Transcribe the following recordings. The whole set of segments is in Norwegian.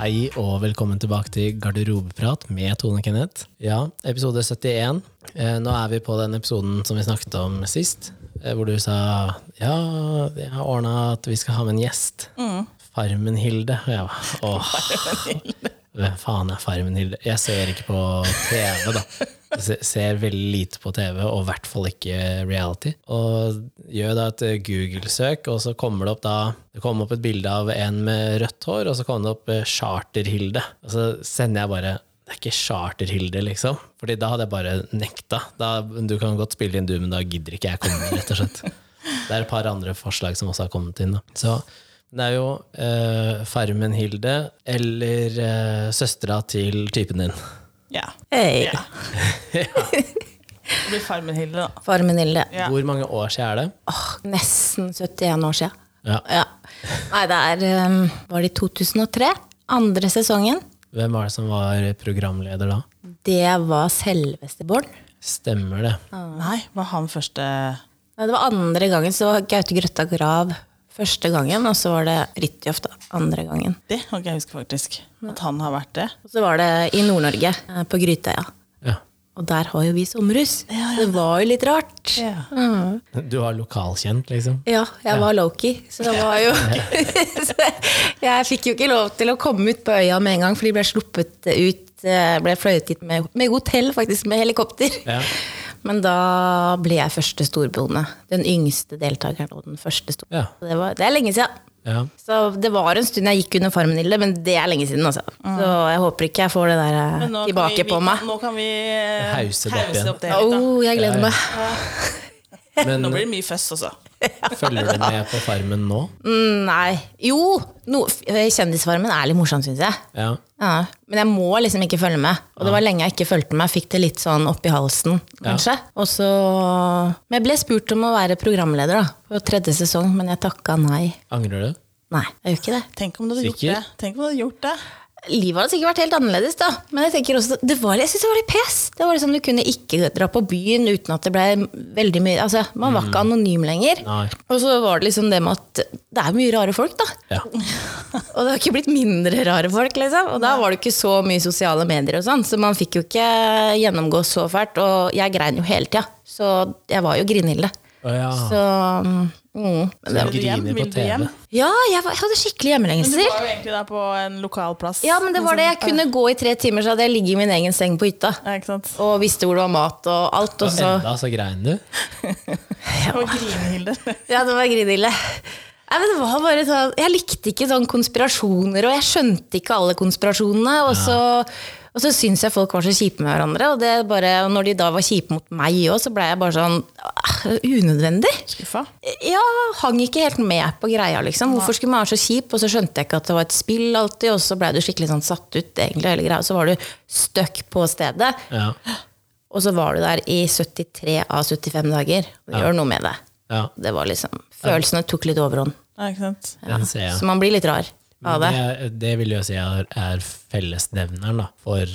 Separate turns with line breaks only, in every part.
Hei og velkommen tilbake til Garderobeprat med Tone og Kenneth. Ja, episode 71. Eh, Nå er vi på den episoden som vi snakket om sist, eh, hvor du sa ja, jeg har ordna at vi skal ha med en gjest. Farmen-Hilde. Og jeg var åh, hvem faen er Farmen-Hilde? Jeg ser ikke på TV, da. Jeg se- ser veldig lite på TV, og i hvert fall ikke reality. Og gjør da et eh, Google-søk, og så kommer det opp da Det kom opp et bilde av en med rødt hår, og så kom det opp eh, Charter-Hilde. Og så sender jeg bare det er ikke Charter-Hilde, liksom. Fordi da hadde jeg bare nekta. Da, du kan godt spille inn du, men da gidder ikke jeg komme, rett og slett. Det er et par andre forslag som også har kommet inn. Da. Så det er jo eh, Farmen-Hilde eller eh, søstera til typen din.
Ja.
Hei.
ja. Det blir Farmen Hilde, da.
Far min Hilde.
Ja.
Hvor mange år siden er det?
Åh, nesten 71 år siden.
Ja.
Ja. Nei, det er um, Var det i 2003? Andre sesongen.
Hvem var det som var programleder da?
Det var selveste Bård.
Stemmer det.
Ah. Nei, var han første
Nei, det var andre gangen, så var Gaute Grøtta Grav første gangen, og så var det Fridtjof da, andre gangen.
Det kan ikke jeg huske, faktisk. At han har vært det.
Og så var det i Nord-Norge, eh, på Grytøya.
Ja.
Og der har jo vi sommerhus. Det var jo litt rart.
Du har lokalkjent, liksom?
Ja, jeg var Loki, så det var jo så Jeg fikk jo ikke lov til å komme ut på øya med en gang, for de ble sluppet ut, eh, ble fløyet hit med, med hotell, faktisk, med helikopter.
Ja.
Men da ble jeg første storbonde. Den yngste deltakeren og den første
Ja.
storbonde. Så Det, var, det er lenge siden.
ja.
Så det var en stund jeg gikk under farmen, Hilde, men det er lenge siden. Altså. Så jeg håper ikke jeg får det der eh,
Mm. Men nå kan
tilbake
vi, vi,
på meg.
Nå kan vi eh,
Hause det opp igjen.
det opp det
Åh,
litt, da.
jeg gleder meg.
Men
Nå blir det mye altså. føss også.
følger du med på Farmen nå?
Mm, Nei. Jo! No, eh, kjendisfarmen er litt morsom, syns jeg.
Ja.
Ja, men jeg må liksom ikke følge med. Og det var lenge jeg ikke fulgte med. Jeg fikk det litt sånn oppi halsen, kanskje. Og så Men jeg ble spurt om å være programleder da, på tredje sesong, men jeg takka nei.
Angrer du?
Nei, jeg gjør ikke det.
Tenk om du hadde gjort
Sikker?
det. Tenk om du hadde gjort det.
Livet hadde sikkert vært helt annerledes, da. Men jeg tenker også, det var, jeg synes det var litt pes. Det var liksom, Du kunne ikke dra på byen uten at det ble veldig mye Altså, Man var ikke anonym lenger.
Nei.
Og så var det liksom det med at det er mye rare folk, da.
Ja.
Og det har ikke blitt mindre rare folk, liksom. Og da var det ikke så mye sosiale medier og sånn, så man fikk jo ikke gjennomgå så fælt. Og jeg grein jo hele tida, så jeg var jo Grinhilde.
Å ja.
Så mm. Men Ah. det,
Du
Vil du hjem?
griner på
Vil du
TV.
hjem?
ja, jeg, var, jeg hadde
Du
skikkelig hjemmelengser.
var jo egentlig der på en lokal plass. Sånn
Ja, men det var det. Jeg kunne gå i tre timer, så hadde jeg ligget i min egen seng på hytta.
Ja, ikke sant?
Og visste hvor det var mat og alt. Og
Og
så
enda så grein du?
Og Grinehilde.
Ja, det var grinille. Nei, men det var bare sånn, jeg likte ikke sånn konspirasjoner, og jeg skjønte ikke alle konspirasjonene. Og så, og så syntes jeg folk var så kjipe med hverandre. Og det bare, og når de da var kjipe mot meg òg, så blei jeg bare sånn ah, Unødvendig.
Skuffa.
Ja, hang ikke helt med på greia, liksom. Hvorfor skulle man være så kjip? Og så skjønte jeg ikke at det var et spill alltid, og så blei du skikkelig sånn satt ut, egentlig, hele greia. Så var du stuck på stedet,
Ja.
og så var du der i 73 av 75 dager. Det gjør noe med det.
ja.
Det var liksom, Følelsene tok litt overhånd.
Ja, ikke sant?
Den ser jeg.
Så man blir litt rar av det.
Det, det vil jeg jo si er, er fellesnevneren da, for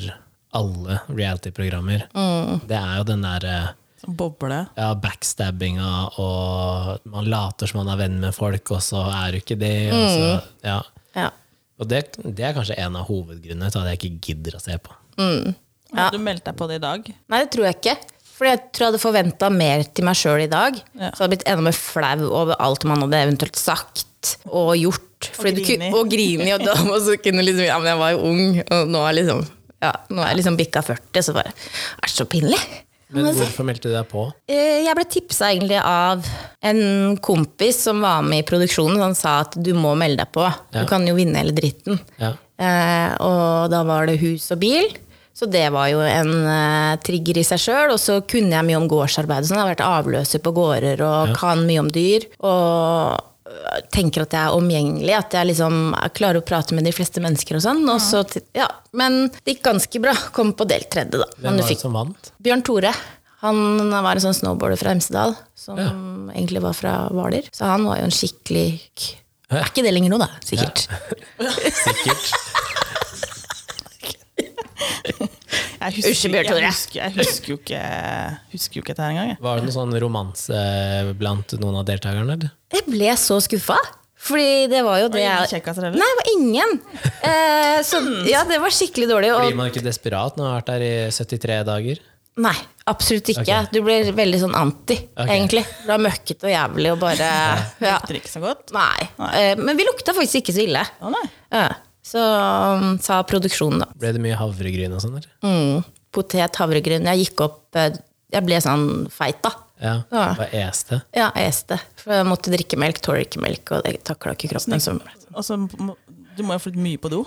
alle reality-programmer.
Mm.
Det er jo den derre
Sånn boble.
ja, backstabbinga og man later som man er venn med folk, og så er du ikke det. Og, så,
Mm.
ja.
Ja.
og det, det er kanskje en av hovedgrunnene til at jeg ikke gidder å se på.
Hadde Du meldte deg på det i dag.
Nei, det tror jeg ikke. Fordi jeg tror jeg hadde forventa mer til meg sjøl i dag.
Ja.
Så jeg hadde blitt enda mer flau over alt man hadde eventuelt sagt og gjort. Fordi du
grini.
kunne- Og grini. Og da og så kunne liksom, ja, men jeg var jo ung, og nå er jeg liksom, ja, nå er jeg liksom bikka 40, så bare Er så pinlig.
Men hvorfor meldte du deg på?
Eh, Jeg ble tipsa egentlig av en kompis som var med i produksjonen. Han sa at du må melde deg på.
Ja.
Du kan jo vinne hele dritten.
Ja.
Eh, og da var det hus og bil. Så det var jo en eh, trigger i seg sjøl. Og så kunne jeg mye om gårdsarbeid. og Sånn. Jeg har vært avløser på gårder og kan mye om dyr. Og øh, tenker at jeg er omgjengelig, at jeg liksom klarer å prate med de fleste mennesker og sånn. Og så, til- ja. Men det gikk ganske bra. Kom på del tredje, da.
Hvem
Men du
var det
fikk
som vant?
Bjørn Tore. Han var en sånn snowboarder fra Hemsedal, som egentlig var fra Hvaler. Så han var jo en skikkelig k- Er ikke det lenger nå, da? Sikkert.
Sikkert.
Jeg husker,
Unnskyld, Bjørn Tore.
jeg husker, jeg husker, jo, ikke, husker jo ikke dette her engang. jeg.
Var det noen sånn romanse blant noen av deltakerne? eller?
Jeg ble så skuffa. Fordi det var jo det
ingen
jeg-
kjekkas, eller?
Nei, det var ingen! Eh, så ja, det var skikkelig dårlig.
Blir
Og,
man ikke desperat når man har vært der i 73 dager?
nei, absolutt ikke. Du blir veldig sånn anti,
Ok.
egentlig. Du er møkkete og jævlig og bare ja.
Lukter ikke så godt.
Nei. Eh, men vi lukta faktisk ikke så ille.
Å nei.
Ja. Så um, sa produksjonen, da.
Ble det mye havregryn og sånn? eller?
Mm, potet, havregryn. Jeg gikk opp eh, Jeg ble sånn feit, da.
Ja.
Ja.
Bare este?
Ja, jeg este. For jeg måtte drikke melk, tåler ikke melk, og det takla ikke kroppen. Så
Og så Altså, må- du må jo flytte mye på do.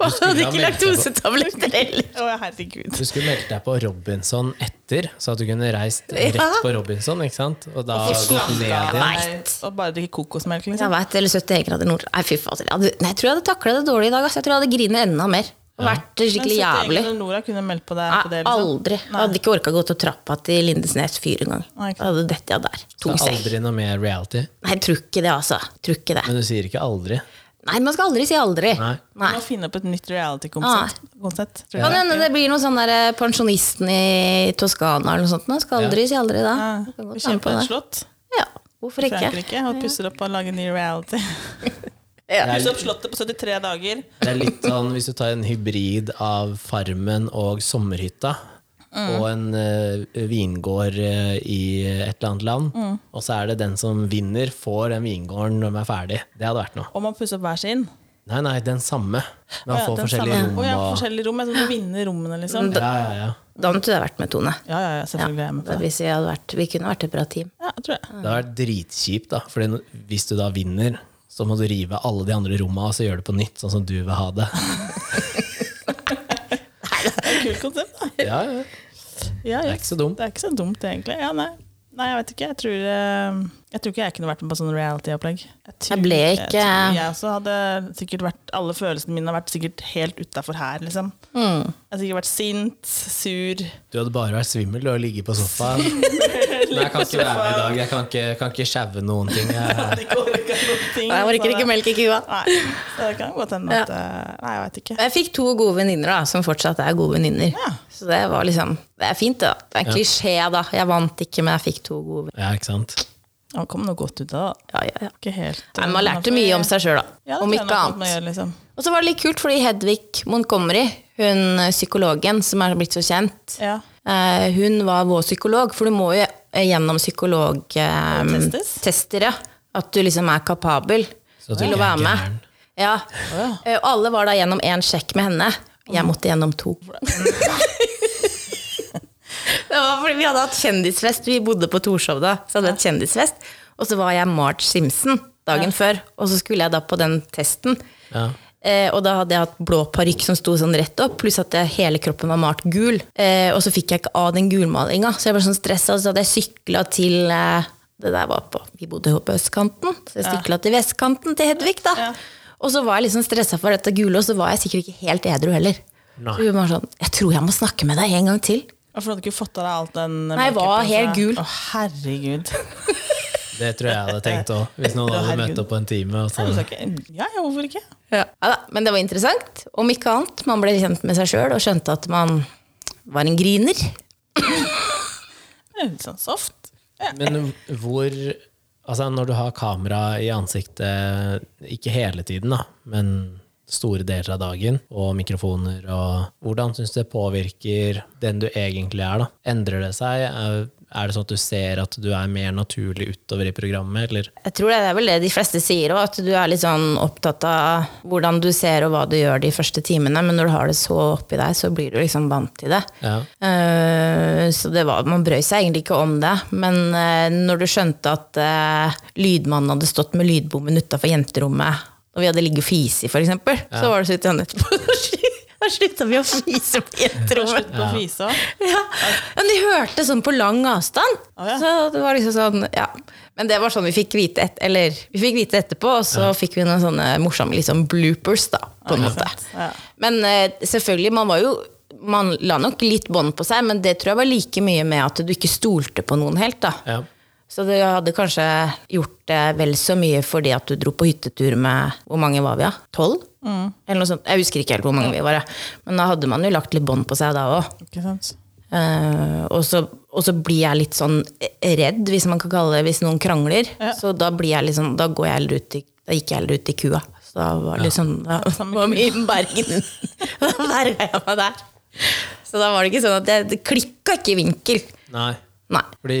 Og
skulle
hadde
ha
ikke
melk etterpå.
laktosetabletter heller!
Å, herregud.
Du skulle melde deg på Robinson etter, så at du kunne reist rett
Ja.
på Robinson. ikke sant? Og da gått ned
Slapp
igjen.
av. Og bare drikke kokosmelk, liksom.
Jeg vet, eller 71 grader nord. Nei, fy fader. Jeg, hadde- nei, jeg tror jeg hadde takla det dårlig i dag. ass. Jeg tror jeg hadde grinet enda mer. Og vært
Men
skikkelig
så tenker
jævlig.
jeg at Nora kunne meldt på deg på det,
Nei,
liksom.
aldri. Jeg hadde ikke orka gå til trappa til Lindesnes fyr engang.
Nei, ikke
Jeg hadde dette jeg der.
Så
Tung sekk.
Aldri noe mer reality.
Nei, jeg tror ikke det, altså. Jeg Tror ikke det.
Men du sier ikke aldri.
Nei, man skal aldri si aldri.
Nei.
Du
Nei.
må finne opp et nytt reality-konsept. konsept, tror jeg.
Kan hende det blir noe sånn der eh, pensjonisten i Toskana eller noe sånt. nå. Skal aldri si aldri da.
Ja.
Kan godt være med
Kjempe
på
et
det.
slott
Ja, hvorfor
i
ikke?
Frankrike og pusser opp og lager ny reality.
Ja.
Pusser opp slottet på 73 dager.
Det er litt sånn, Hvis du tar en hybrid av Farmen og Sommerhytta
Mm.
og en eh, vingård eh, i et eller annet land,
Mm.
og så er det den som vinner, får den vingården når den er ferdig. Det hadde vært noe.
Og man pusser opp hver sin.
Nei, nei, den samme. Men
Å
han
ja,
får
den
forskjellige
samme.
rom.
Å ja,
og-
forskjellige rom. Jeg tror du vinner rommene, liksom.
Mm.
ja, ja, ja.
Da måtte du ha vært med, Tone.
Ja, ja, ja, selvfølgelig er jeg med på det.
Hvis vi, hadde vært, vi kunne vært et bra team.
Ja, jeg tror jeg.
Det hadde vært dritkjipt, da. Fordi no- hvis du da vinner, så må du rive alle de andre rommene og så gjøre det på nytt, sånn som du vil ha det.
Det er et kult konsept, da.
Ja, ja.
Ja,
Det
ja.
er ikke så dumt.
Det er ikke så dumt, egentlig. Ja, nei. nei, jeg vet ikke. Jeg tror, eh, jeg tror ikke jeg kunne vært med på sånn reality-opplegg. tror-
Jeg ble ikke-
Jeg, tror jeg også hadde sikkert vært Alle følelsene mine har vært sikkert helt utafor her, liksom.
Mm.
Jeg har sikkert vært sint, sur
Du hadde bare vært svimmel du, og ligget på sofaen. Nei, jeg kan ikke være med i dag. Jeg kan ikke, kan ikke sjaue noen ting. Jeg,
Hadde ikke orka noen ting.
Jeg orker
så det-
ikke melk i kua.
Nei, så det kan godt hende at eh, Nei, jeg vet ikke.
Jeg fikk to gode venninner da, som fortsatt er gode venninner.
Ja.
Så det var liksom, det er fint, da. Det er en klisjé, da. Jeg vant ikke, men jeg fikk to gode venninner.
ja, ikke sant?
Det kom noe godt ut av det. da.
Ja, ja, ja.
Ikke helt eh,
Nei, man lærte mye om seg sjøl, da.
Ja, det
om
tror jeg
ikke
nok at man
annet.
Gjør, liksom.
Og så var det litt kult, fordi Hedvig Montgomery, hun eh, psykologen som er blitt så kjent,
ja.
eh, hun var vår psykolog, for du må jo eh, gjennom
Testes?
psykologtester, ja. At du liksom er kapabel
Så at du
til å
ikke er
være med.
gæren.
Ja.
ja.
Eh, Og alle var da gjennom én sjekk med henne. Jeg måtte gjennom to. Det var fordi Vi hadde hatt kjendisfest, vi bodde på Torshov da. Så hadde vi hatt kjendisfest Og så var jeg Marge Simpson dagen før, og så skulle jeg da på den testen.
Ja.
Eh, og da hadde jeg hatt blå parykk som sto sånn rett opp, pluss at jeg, hele kroppen var malt gul. Eh, og så fikk jeg ikke av den gulmalinga, så jeg ble sånn stressa, og så hadde jeg sykla til eh, Det der var på Vi bodde jo på østkanten, så jeg sykla til vestkanten til Hedvig, da. Og så var jeg litt sånn stressa for dette gule, og så var jeg sikkert ikke helt edru heller.
Nei.
Så hun var sånn Jeg tror jeg må snakke med deg en gang til.
Hvorfor hadde du ikke fått av deg alt den
Nei, jeg var
makeupen,
helt
så-
gul.
Å, herregud.
Det tror jeg jeg hadde tenkt òg, hvis noen
Å,
hadde
herregud.
møtt opp på en time. Og så.
Nei, men så ikke- Ja, ja, hvorfor ikke?
Ja. da, men det var interessant. Om ikke annet, man ble kjent med seg sjøl og skjønte at man var en griner.
Det er Litt sånn soft. Ja.
Men hvor Altså, når du har kamera i ansiktet, ikke hele tiden, da, men store deler av dagen, og mikrofoner og Hvordan syns du det påvirker den du egentlig er, da? Endrer det seg? Er er det sånn at du ser at du er mer naturlig utover i programmet, eller?
Jeg tror det er vel det de fleste sier òg, at du er litt sånn opptatt av hvordan du ser og hva du gjør de første timene, men når du har det så oppi deg, så blir du liksom vant til det.
Ja.
Eh, så det var, man brøy seg egentlig ikke om det, men eh, når du skjønte at eh, lydmannen hadde stått med lydbommen utafor jenterommet, og vi hadde ligget og fisi, for eksempel, så var det så vidt igjen etterpå. Da slutta vi å fise på jenterommet.
Slutt på å fise òg.
Ja. Men de hørte sånn på lang avstand.
Å, ja.
Så det var liksom sånn, ja. Men det var sånn vi fikk vite, et, eller, vi fikk vite etterpå, og så fikk vi noen sånne morsomme liksom, bloopers, da, på en måte.
sant. Ja.
Men eh, selvfølgelig, man var jo man la nok litt bånd på seg, men det tror jeg var like mye med at du ikke stolte på noen helt. da.
ja.
Så det hadde kanskje gjort det vel så mye fordi at du dro på hyttetur med Hvor mange var vi, da? Tolv?
Mm.
Eller noe sånt. Jeg husker ikke helt hvor mange vi var, jeg. men da hadde man jo lagt litt bånd på seg da òg.
Ikke sant?
Eh, Eh, og, så, og så blir jeg litt sånn redd, hvis man kan kalle det hvis noen krangler. Så da, blir jeg litt sånn- da, går jeg heller ut i, da gikk jeg heller ut i kua. Så da var det liksom da, var vi i Bergen. da verga jeg meg der. Så da var det ikke sånn at det, det klikka ikke i vinkel.
Nei.
Nei.
Fordi,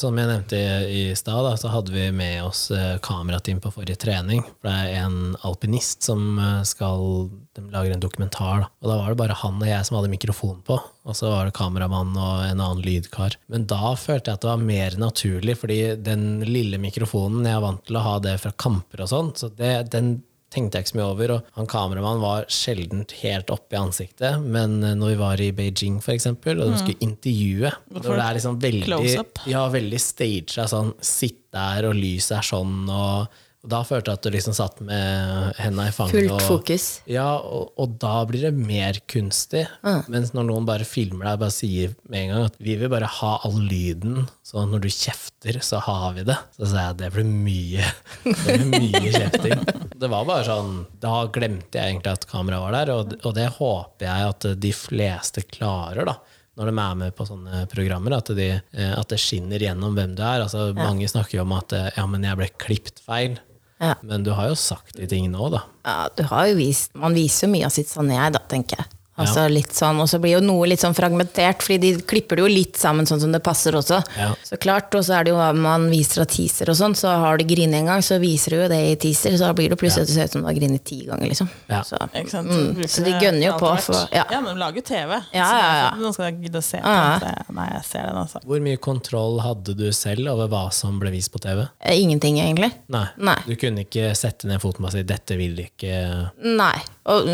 som jeg nevnte i i stad, da, så hadde vi med oss eh, kamerateam på forrige trening. For det er en alpinist som eh, skal De lager en dokumentar, da. Og da var det bare han og jeg som hadde mikrofon på. Og så var det kameramann og en annen lydkar. Men da følte jeg at det var mer naturlig, fordi den lille mikrofonen Jeg er vant til å ha det fra kamper og sånn, så det, den tenkte jeg ikke så mye over. Og han kameramannen var sjelden helt oppe i ansiktet, men eh, når vi var i Beijing, for eksempel, og de skulle intervjue Når det er liksom veldig,
Close-up.
ja, veldig staged, sånn sitt der, og lyset er sånn, og, og da følte jeg at du liksom satt med henda i fanget.
Fullt
og-
fokus.
ja, og, og da blir det mer kunstig. Mens når noen bare filmer deg, bare sier med en gang at vi vil bare ha all lyden, så når du kjefter, så har vi det. Så sa jeg det blir mye, det blir mye kjefting. Det var bare sånn, da glemte jeg egentlig at kameraet var der, og, og det håper jeg at de fleste klarer da. Når de er med på sånne programmer, at, de, eh, at det skinner gjennom hvem du er. Altså, Mange snakker jo om at eh, ja, men jeg ble klippet feil.
Ja.
Men du har jo sagt de tingene òg, da.
Ja, du har jo vist, man viser jo mye av sitt sanne jeg, da, tenker jeg. Altså litt sånn, Og så blir jo noe litt sånn fragmentert, fordi de klipper det jo litt sammen sånn som det passer også.
Ja.
Så klart, Og så er det jo hva man viser av teaser og sånn, så har du grinet en gang, så viser du jo det i teaser, så da blir det plutselig at det ser ut som du har grinet ti ganger, liksom.
Ja.
Så,
Ikke sant? Bruker
Mm. så de
det
gønner jo
alt
på,
og hvert.
for- ja.
ja. men de lager jo TV.
Ja,
så det er
ja, Ah. ja.
sånn at Noen skal gidde å se på
Ja.
den. så jeg- Nei, jeg ser den, altså.
Hvor mye kontroll hadde du selv over hva som ble vist på TV?
eh, Ingenting, egentlig.
Nei.
Nei.
Du kunne ikke sette ned foten og si 'dette vil du ikke'.
Nei. Og,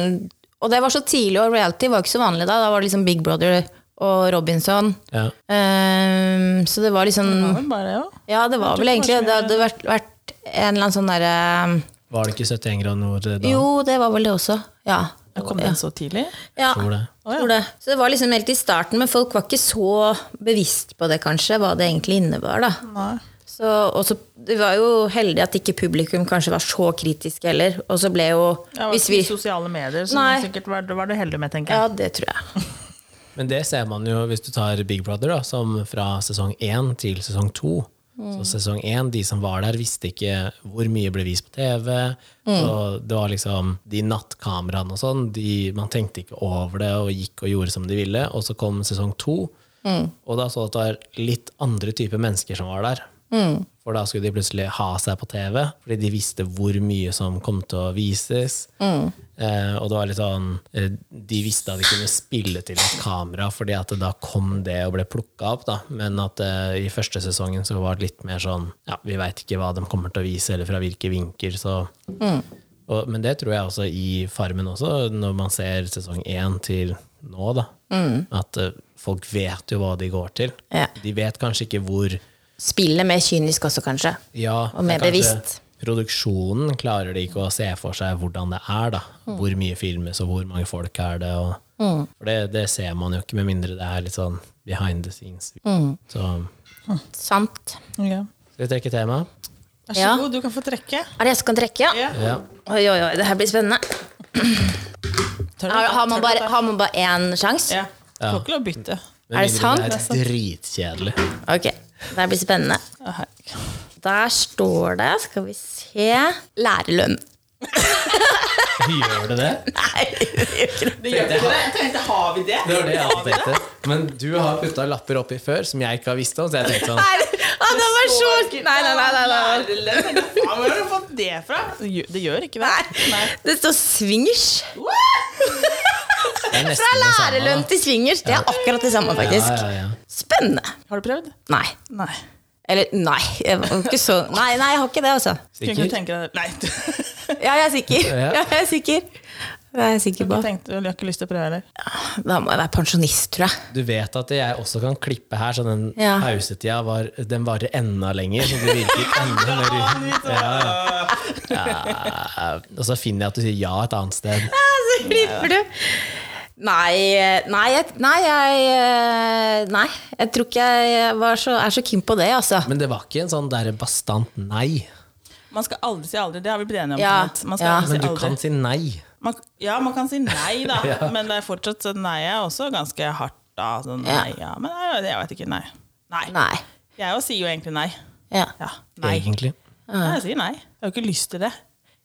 og det var så tidlig, og reality var ikke så vanlig da. Da var det liksom Big Brother og Robinson.
Ja.
Ehm, så det var liksom
Det var vel bare det også.
Ja, det var vel egentlig Det hadde vært, vært en eller annen sånn derre
Var det ikke 71 grader nord da?
Jo, det var vel det også. Ja.
Da kom den så tidlig.
ja.
Tror det.
Tror det. Så det var liksom helt i starten, men folk var ikke så bevisst på det, kanskje, hva det egentlig innebar. da.
Nei.
Så, og så, Vi var jo heldige at ikke publikum kanskje var så kritisk heller. Og så ble jo
Det var
hvis
ikke
vi,
sosiale medier, så
Nei.
sikkert var, var du heldig med, tenker jeg.
Ja, det tror jeg.
Men det ser man jo hvis du tar Big Brother, da, som fra sesong 1 til sesong 2.
Mm.
Så sesong 1, de som var der, visste ikke hvor mye ble vist på TV.
Mm.
Så det var liksom de nattkameraene og sånn, de, man tenkte ikke over det og gikk og gjorde som de ville. Og så kom sesong 2, og da så du at det var litt andre typer mennesker som var der. For da skulle de plutselig ha seg på TV, fordi de visste hvor mye som kom til å vises. Eh, og det var litt sånn eh, De visste at de kunne spille til et kamera, fordi at det da kom det og ble plukka opp. da Men at eh, i første sesongen så var det litt mer sånn Ja, vi veit ikke hva de kommer til å vise, eller fra hvilke vinker, så og, Men det tror jeg også i Farmen også, når man ser sesong én til nå, da. At eh, folk vet jo hva de går til.
Mm. Ja.
De vet kanskje ikke hvor
Spillet mer kynisk også, kanskje.
ja,
Og mer
men kanskje
bevisst.
Produksjonen klarer de ikke å se for seg hvordan det er. da.
Mm.
Hvor mye filmes, og hvor mange folk er det. Og, For det, det ser man jo ikke, med mindre det er litt sånn behind the scenes.
Mm.
Så
Sant.
Ja.
skal vi trekke tema?
Vær så
Ja.
god, du kan få trekke.
Er det jeg som kan trekke?
Ja.
Ja.
Oi, oi, oi, det her blir spennende.
Tør du-
Har, har
tør
man
du
bare
ta-
har man bare én sjanse?
Ja. Du får ikke lov å bytte.
Med
Er det
mindre
sant?
Det er dritkjedelig.
Ok, det her blir spennende.
Å, herregud.
Der står det, skal vi se Lærerlønn.
Gjør det det?
Nei, det gjør ikke det.
Det gjør ikke det. Jeg tenkte, har vi det?
Det var det jeg hadde tenkt. det. Men du har putta lapper oppi før som jeg ikke har visst om. Så jeg tenkte sånn,
Nei, å, det var så Nei, nei, nei. nei, nei.
Ja, Hvor har du fått det fra? Det gjør- det gjør ikke det. Nei.
Det står swingers.
det er nesten
Fra
det samme.
lærerlønn til swingers. Det er akkurat det samme,
da. Ja,
faktisk.
ja, ja.
Spennende.
Har du prøvd?
Nei.
Nei.
Eller nei. Jeg var ikke så Nei, nei, jeg har ikke det, altså.
Kunne ikke
Sikker?
tenke deg Nei. Du
Ja, jeg er sikker. Ja, jeg er sikker. Det er jeg sikker på.
tenkte du har ikke lyst til å prøve heller.
Da må jeg være pensjonist, tror jeg.
Du vet at jeg også kan klippe her, så den
Ja.
pausetida var, den varer enda lenger. Så det virker enda mer ja. ja. Og så finner jeg at du sier ja et annet sted.
Så klipper du. Nei, nei, jeg- nei, jeg, nei, jeg tror ikke jeg var så, er så keen på det, altså.
Men det var ikke en sånn der bastant nei.
Man skal aldri si aldri. Det har vi blitt enige om.
Ja,
Kenneth. Man skal
ja.
aldri si
Men du
Altså, aldri.
kan si nei.
Man, ja, man kan si nei, da. Men det er fortsatt så nei er også ganske hardt. da. Sånn,
Ja.
Nei, ja, men nei, jeg vet ikke. Nei. Nei.
Nei.
Jeg jo sier jo egentlig nei.
Ja.
Ja, nei.
egentlig.
nei. Jeg sier nei. Jeg har jo ikke lyst til det.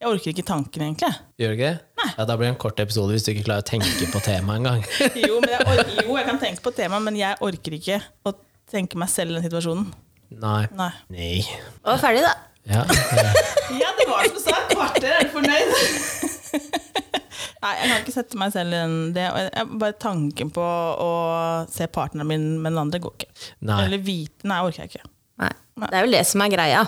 Jeg orker ikke tanken, egentlig.
Gjør det ikke det? Ja, da blir det en kort episode hvis du ikke klarer å tenke på temaet engang.
Jo, men jeg, orker, jo, jeg kan tenke på temaet, men jeg orker ikke å tenke meg selv i den situasjonen.
Nei.
Nei.
Nei.
Og ferdig, da.
Ja.
Ja, det var som sagt kvarter. Er du fornøyd? Nei, jeg kan ikke sette meg selv i den. Det, og jeg, bare tanken på å se partneren min med den andre går ikke.
Nei.
Eller vite Nei, orker jeg ikke.
Nei. Det er jo det som er greia.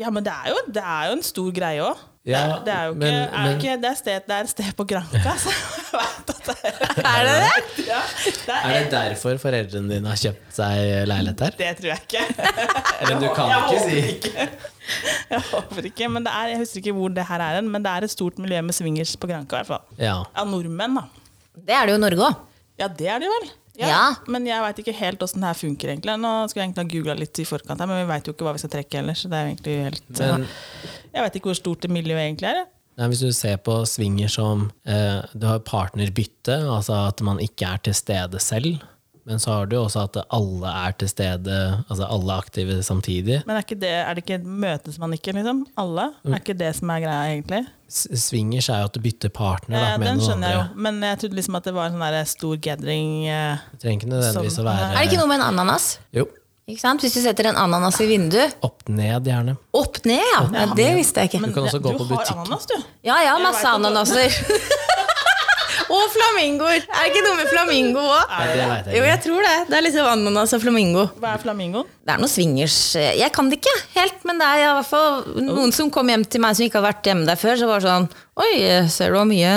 Ja, men det er jo, det er jo en stor greie òg.
Ja,
det, er jo ikke,
men-
er det
men-
ikke, det, er sted, det er et sted på Granka, så jeg vet at det er
Er det det?
ja, det,
Er
er,
det derfor foreldrene dine har kjøpt seg leilighet der?
det tror jeg ikke.
Men du kan
Jeg
ikke
håper
si
Jeg håper ikke, men det er, jeg husker ikke hvor det her er hen, men det er et stort miljø med swingers på Granka. i hvert fall.
Ja.
Av nordmenn, da.
Det er det jo i Norge òg.
Ja, det er det vel.
Ja.
Men jeg veit ikke helt åssen det her funker, egentlig. Nå skulle jeg egentlig ha googla litt i forkant her, men vi veit jo ikke hva vi skal trekke heller, så det er jo egentlig helt eh,
Men-
Jeg veit ikke hvor stort det miljøet egentlig er. jeg.
Nei, hvis du ser på svinger som eh, Du har partnerbytte, altså at man ikke er til stede selv. Men så har du jo også at alle er til stede, altså alle er aktive samtidig.
Men er, ikke det, er det ikke møtes man ikke, liksom? Alle?
Mm.
Er ikke det som er greia, egentlig?
S- Swingers er jo at du bytter partner da,
Eh,
med
den
noen
skjønner jeg jo,
andre.
men jeg trodde liksom at det var en sånn der stor gathering eh,
Det trenger ikke nødvendigvis
Sånn.
å være
Er det ikke noe med en ananas?
Jo.
Ikke sant? Hvis du setter en ananas i vinduet
Opp ned, gjerne.
Opp ned, ja! ja det visste jeg ikke.
Du kan også
det-
gå
du
på
har
butikken.
ananas, du.
Ja, ja,
Jeg
masse
vet at du-
ananaser. og flamingoer. Er det ikke noe med flamingo òg?
Nei, det vet
Jo,
jeg ikke.
jeg tror det. Det er liksom ananas og flamingo.
Hva er flamingoen?
Det er noe swingers Jeg kan det ikke helt, men det er i hvert fall noen som kom hjem til meg som ikke har vært hjemme der før, så var det sånn Oi, ser du hvor mye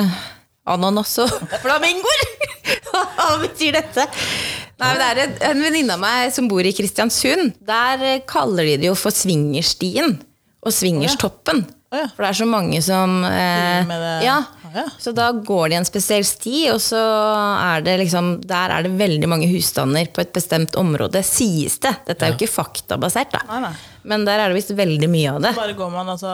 ananas og flamingoer? Hva betyr dette? Nei, men det er en- En venninne av meg som bor i Kristiansund, der eh, kaller de det jo for swingerstien og swingerstoppen.
Å ja.
For det er så mange som eh,
Driver med det.
ja.
Å ja.
Så da går de en spesiell sti, og så er det liksom Der er det veldig mange husstander på et bestemt område, sies det. Dette er jo ikke faktabasert, da.
Nei, nei.
Men der er det visst veldig mye av det.
Bare går man altså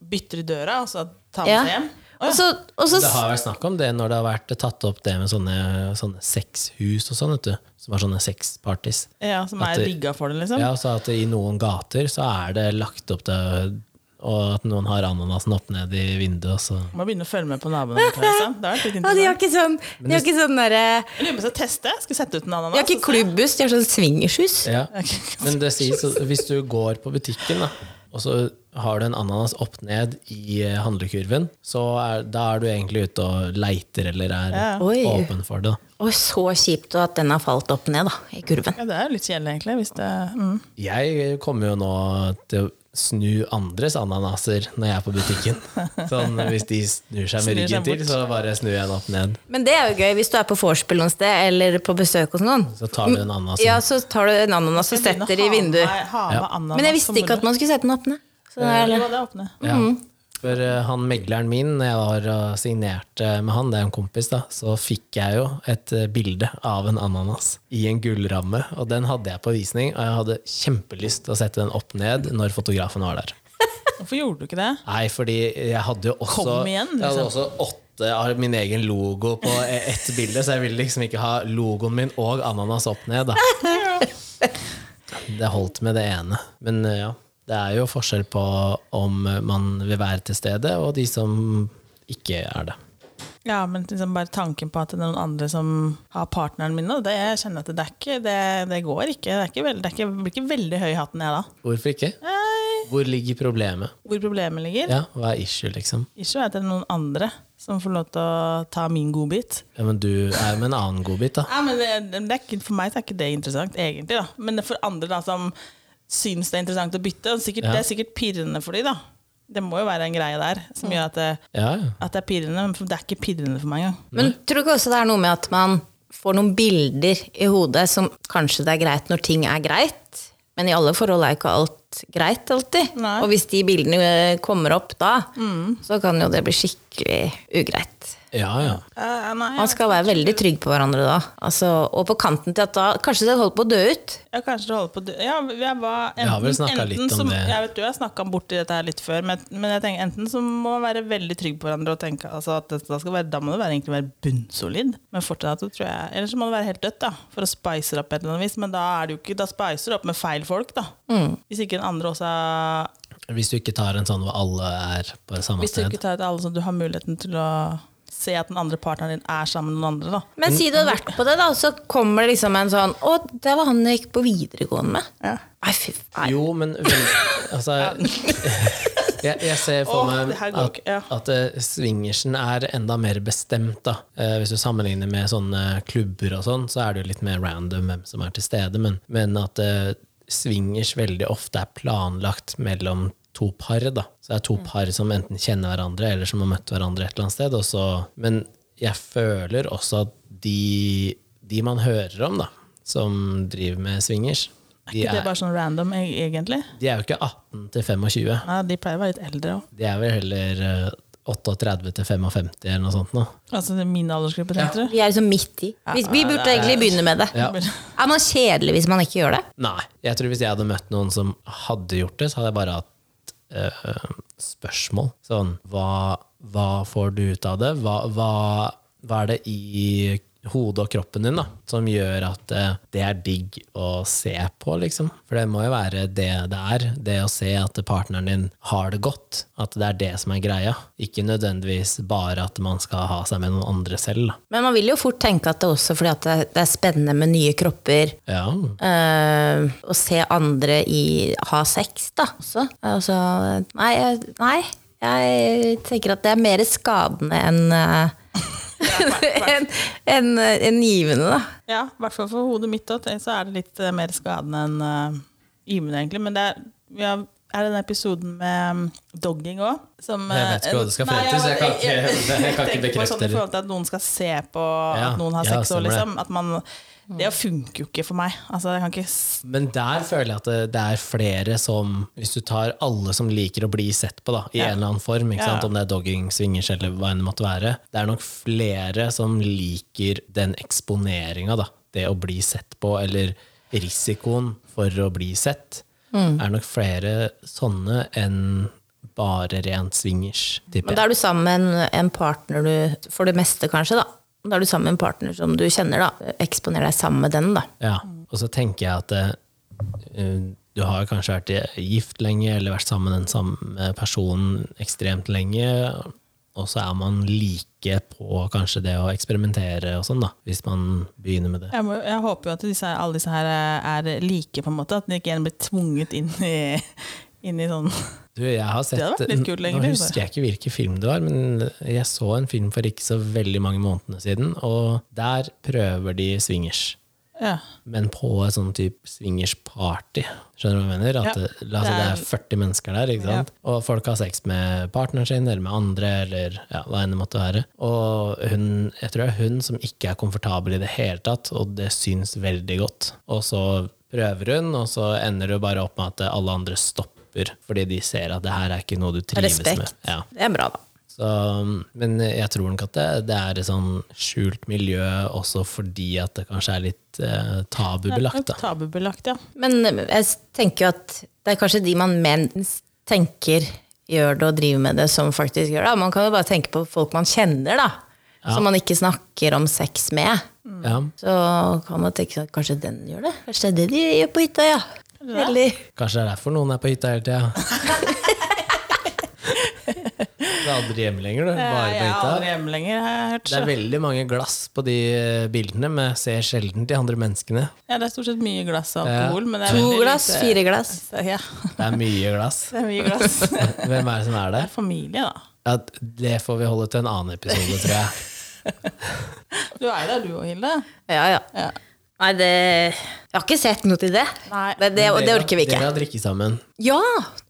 bytter i døra, og så tar man
Ja.
seg hjem? Å,
Og så, og så
Det har vært snakk om det når det har vært tatt opp det med sånne, sånne sexhus og sånn, vet du. Som har sånne sexparties.
Ja, som
At
er
det-
rigga for det, liksom?
Ja, så at i noen gater så er det lagt opp til og at noen har ananasen opp ned i vinduet. Og så.
Må begynne å følge med på naboene. tror jeg, sant? Det har vært litt
og de har
interessant.
ikke sånn, de har ikke sånn derre
Jeg lurer på om jeg skal teste. Skal sette ut en ananas.
De har ikke klubbhus, de har sånn swingershus.
Ja.
Ok.
Men det sies at hvis du går på butikken, da, og så har du en ananas opp ned i eh, handlekurven, så er, da er du egentlig ute og leiter eller er
Ja.
Oi.
åpen for det. Da.
Og så kjipt at den har falt opp ned da, i kurven.
Ja, det er jo litt kjedelig, egentlig. Hvis det, mm.
Jeg kommer jo nå til å snu andres ananaser når jeg er på butikken. Sånn, hvis de snur seg med
Snur seg
ryggen til,
bort.
så bare snur jeg den opp ned.
Men det er jo gøy hvis du er på vorspiel noe sted, eller på besøk hos noen.
Så tar du en ananas.
Ja, så tar du en ananas og setter i vinduet.
Ha med, ha med ananas
Men jeg visste ikke at man skulle sette den opp ned. Så det er,
Jo, det er åpne.
Ja. For eh, han megleren min, når jeg var og signerte med han, det er en kompis, da, så fikk jeg jo et eh, bilde av en ananas i en gullramme. Og den hadde jeg på visning, og jeg hadde kjempelyst til å sette den opp ned når fotografen var der.
Hvorfor gjorde du ikke det?
Nei, fordi jeg hadde jo også,
Kom igjen, liksom.
jeg hadde også åtte av min egen logo på eh, ett bilde, så jeg ville liksom ikke ha logoen min og ananas opp ned. Da. Det holdt med det ene. Men eh, ja, det er jo forskjell på om man vil være til stede, og de som ikke er det.
Ja, men liksom bare tanken på at det er noen andre som har partneren min nå, det jeg kjenner at det er ikke Det, det går ikke. Det, er ikke veld, det, er ikke, det blir ikke veldig høy i hatten, jeg da.
Hvorfor ikke?
Nei.
Hvor ligger problemet?
Hvor problemet ligger?
Ja, hva er issue, liksom?
Ikke at det er noen andre som får lov til å ta min godbit.
Ja, men du er med en annen godbit, da.
Ja, men det, det er ikke, for meg så er ikke det interessant, egentlig. da. Men det er for andre da, som syns det er interessant å bytte, og sikkert,
Ja.
det er sikkert pirrende for dem. da. Det må jo være en greie der som gjør at det,
Ja, ja.
at det er pirrende, men det er ikke pirrende for meg engang.
men tror du ikke også det er noe med at man får noen bilder i hodet som kanskje det er greit når ting er greit, men i alle forhold er jo ikke alt helt greit alltid.
Nei.
Og hvis de bildene eh, kommer opp da, så kan jo det bli skikkelig ugreit.
Ja, ja.
Eh, nei,
Man skal være veldig trygg på hverandre da. Altså, og på kanten til at da Kanskje det holder på å dø ut.
Ja, kanskje det holder på å dø. Ja, jeg var enten,
har vel snakket litt
enten
om
som,
det.
Jeg vet du, jeg snakka borti dette her litt før, men, men jeg tenker enten så må man være veldig trygg på hverandre og tenke altså, at det, da, skal være, da må det være, egentlig være bunnsolid. Men fortsatt så tror jeg Eller så må det være helt dødt, da, for å spice det opp på et eller annet vis. Men da, er det jo ikke, da spicer det opp med feil folk, da. Hvis ikke den andre også er
Hvis du ikke tar en sånn hvor alle er på samme
Hvis du
sted.
ikke tar ut alle som du har muligheten til å se at den andre partneren din er sammen med den andre, da.
Men si du hadde vært på det, da, og så kommer det liksom en sånn Å, det var han jeg gikk på videregående med.
Ja.
Nei, fy faen.
Jo, men vel, altså jeg, jeg ser for
Åh,
meg
det her går
at,
ikke, ja.
at eh, swingersen er enda mer bestemt. da. Eh, hvis du sammenligner med sånne klubber og sånn, så er det jo litt mer random hvem som er til stede, men, men at eh, swingers veldig ofte er planlagt mellom to par. da. Så det er to
Mm.
par som enten kjenner hverandre, eller som har møtt hverandre et eller annet sted. Og så, men jeg føler også at de, de man hører om, da, som driver med swingers de
Ikke det bare sånn random, e- egentlig?
de er jo ikke 18 til 25.
Nei, de pleier å være litt eldre òg.
De er vel heller eh, 38 til 55 eller noe sånt nå.
Altså det er min aldersgruppe, tenkte du?
Vi er liksom midt i. Vi, vi burde egentlig begynne med det. Er man kjedelig hvis man ikke gjør det?
Nei, jeg tror hvis jeg hadde møtt noen som hadde gjort det, så hadde jeg bare hatt eh, spørsmål. Sånn, hva, hva får du ut av det? Hva, hva, hva er det i hodet og kroppen din da, som gjør at eh, det er digg å se på, liksom? For det må jo være det det er. Det å se at partneren din har det godt. At det er det som er greia. Ikke nødvendigvis bare at man skal ha seg med noen andre selv. Da.
Men man vil jo fort tenke at det er også fordi at det- det er spennende med nye kropper.
Ja,
eh, å se andre i, ha sex, da. Også. Altså, nei, jeg- nei, jeg tenker at det er mer skadende enn eh, enn enn, eh, enn givende, da.
Ja, i hvert fall for hodet mitt også, tenk, så er det litt eh, mer skadende enn uh, givende, egentlig. Men det er, vi har, er den episoden med um, dogging òg. Jeg
Jeg vet ikke hva det skal frem til, så jeg kan ikke- jeg kan ikke bekrefte
sånn,
det.
I forhold til at noen skal se på
Ja,
at noen har
ja,
sex òg,
stemmer det.
liksom. At man, det funker jo ikke for meg. Altså, jeg kan ikke s-
Men der føler jeg at det, det er flere som Hvis du tar alle som liker å bli sett på, da, i en eller annen form, ikke
Ja.
sant? om det er dogging, swingers eller hva enn det måtte være, det er nok flere som liker den eksponeringa, da. Det å bli sett på, eller risikoen for å bli sett,
Mm.
er nok flere sånne enn bare rent swingers,
Men
tipper
da
jeg.
er du sammen med en, en partner du For det meste, kanskje, da. Da er du sammen med en partner som du kjenner, da. Eksponer deg sammen med den, da.
Ja. Og så tenker jeg at eh, du har kanskje vært gift lenge, eller vært sammen med den samme personen ekstremt lenge, og så er man like på kanskje det å eksperimentere og sånn, da, hvis man begynner med det.
jeg, må, jeg håper jo at disse, alle disse her eh, er like, på en måte. At de ikke igjen blir tvunget inn i, inn i sånn
Du, jeg har sett,
hadde vært litt kult
Nå
egentlig,
husker jeg ikke hvilken film det var, men jeg så en film for ikke så veldig mange månedene siden, og der prøver de swingers.
ja.
men på et sånn type swingers-party. Skjønner du hva jeg mener? At
Ja,
det, la oss si det er 40 mennesker der, ikke sant? og folk har sex med partneren sin eller med andre, eller ja, hva enn det måtte være. Og hun, jeg tror det er hun som ikke er komfortabel i det hele tatt, og det syns veldig godt. Og så prøver hun, og så ender det bare opp med at alle andre stopper, fordi de ser at det her er ikke noe du trives med.
Respekt.
Ja.
Det er bra, da.
Så, men jeg tror nok at det, det er et sånn skjult miljø også fordi at det kanskje er litt eh, tabubelagt. Da.
Tabubelagt, ja.
Men eh, jeg s- tenker jo at det er kanskje de man mens tenker gjør det og driver med det, som faktisk gjør det. Man kan jo bare tenke på folk man kjenner, da. Som man ikke snakker om sex med.
Ja.
Så kan man tenke at kanskje den gjør det. Kanskje det er det de gjør på hytta, ja. Eller
Kanskje det er derfor noen er på hytta hele tida. Du er aldri hjemme lenger, du. Bare
Jeg
på
er aldri
hytta.
hjemme lenger, har jeg hørt.
Det er veldig mange glass på de eh, bildene, men jeg ser sjelden de andre menneskene.
Ja, det er stort sett mye glass og alkohol. Men det er eh,
to
veldig
glass,
lite-
fire glass.
Ja,
Det er mye glass.
det er mye glass. Det
Hvem er det som er
er
der?
familie, da.
Ja, det får vi holde til en annen episode, tror jeg.
Du er der, du og Hilde.
Ja, ja.
Ja.
Nei, det Jeg har ikke sett noe til det.
Nei.
Det, det, det
Dere-
orker vi ikke.
Dere har drikket sammen.
Ja,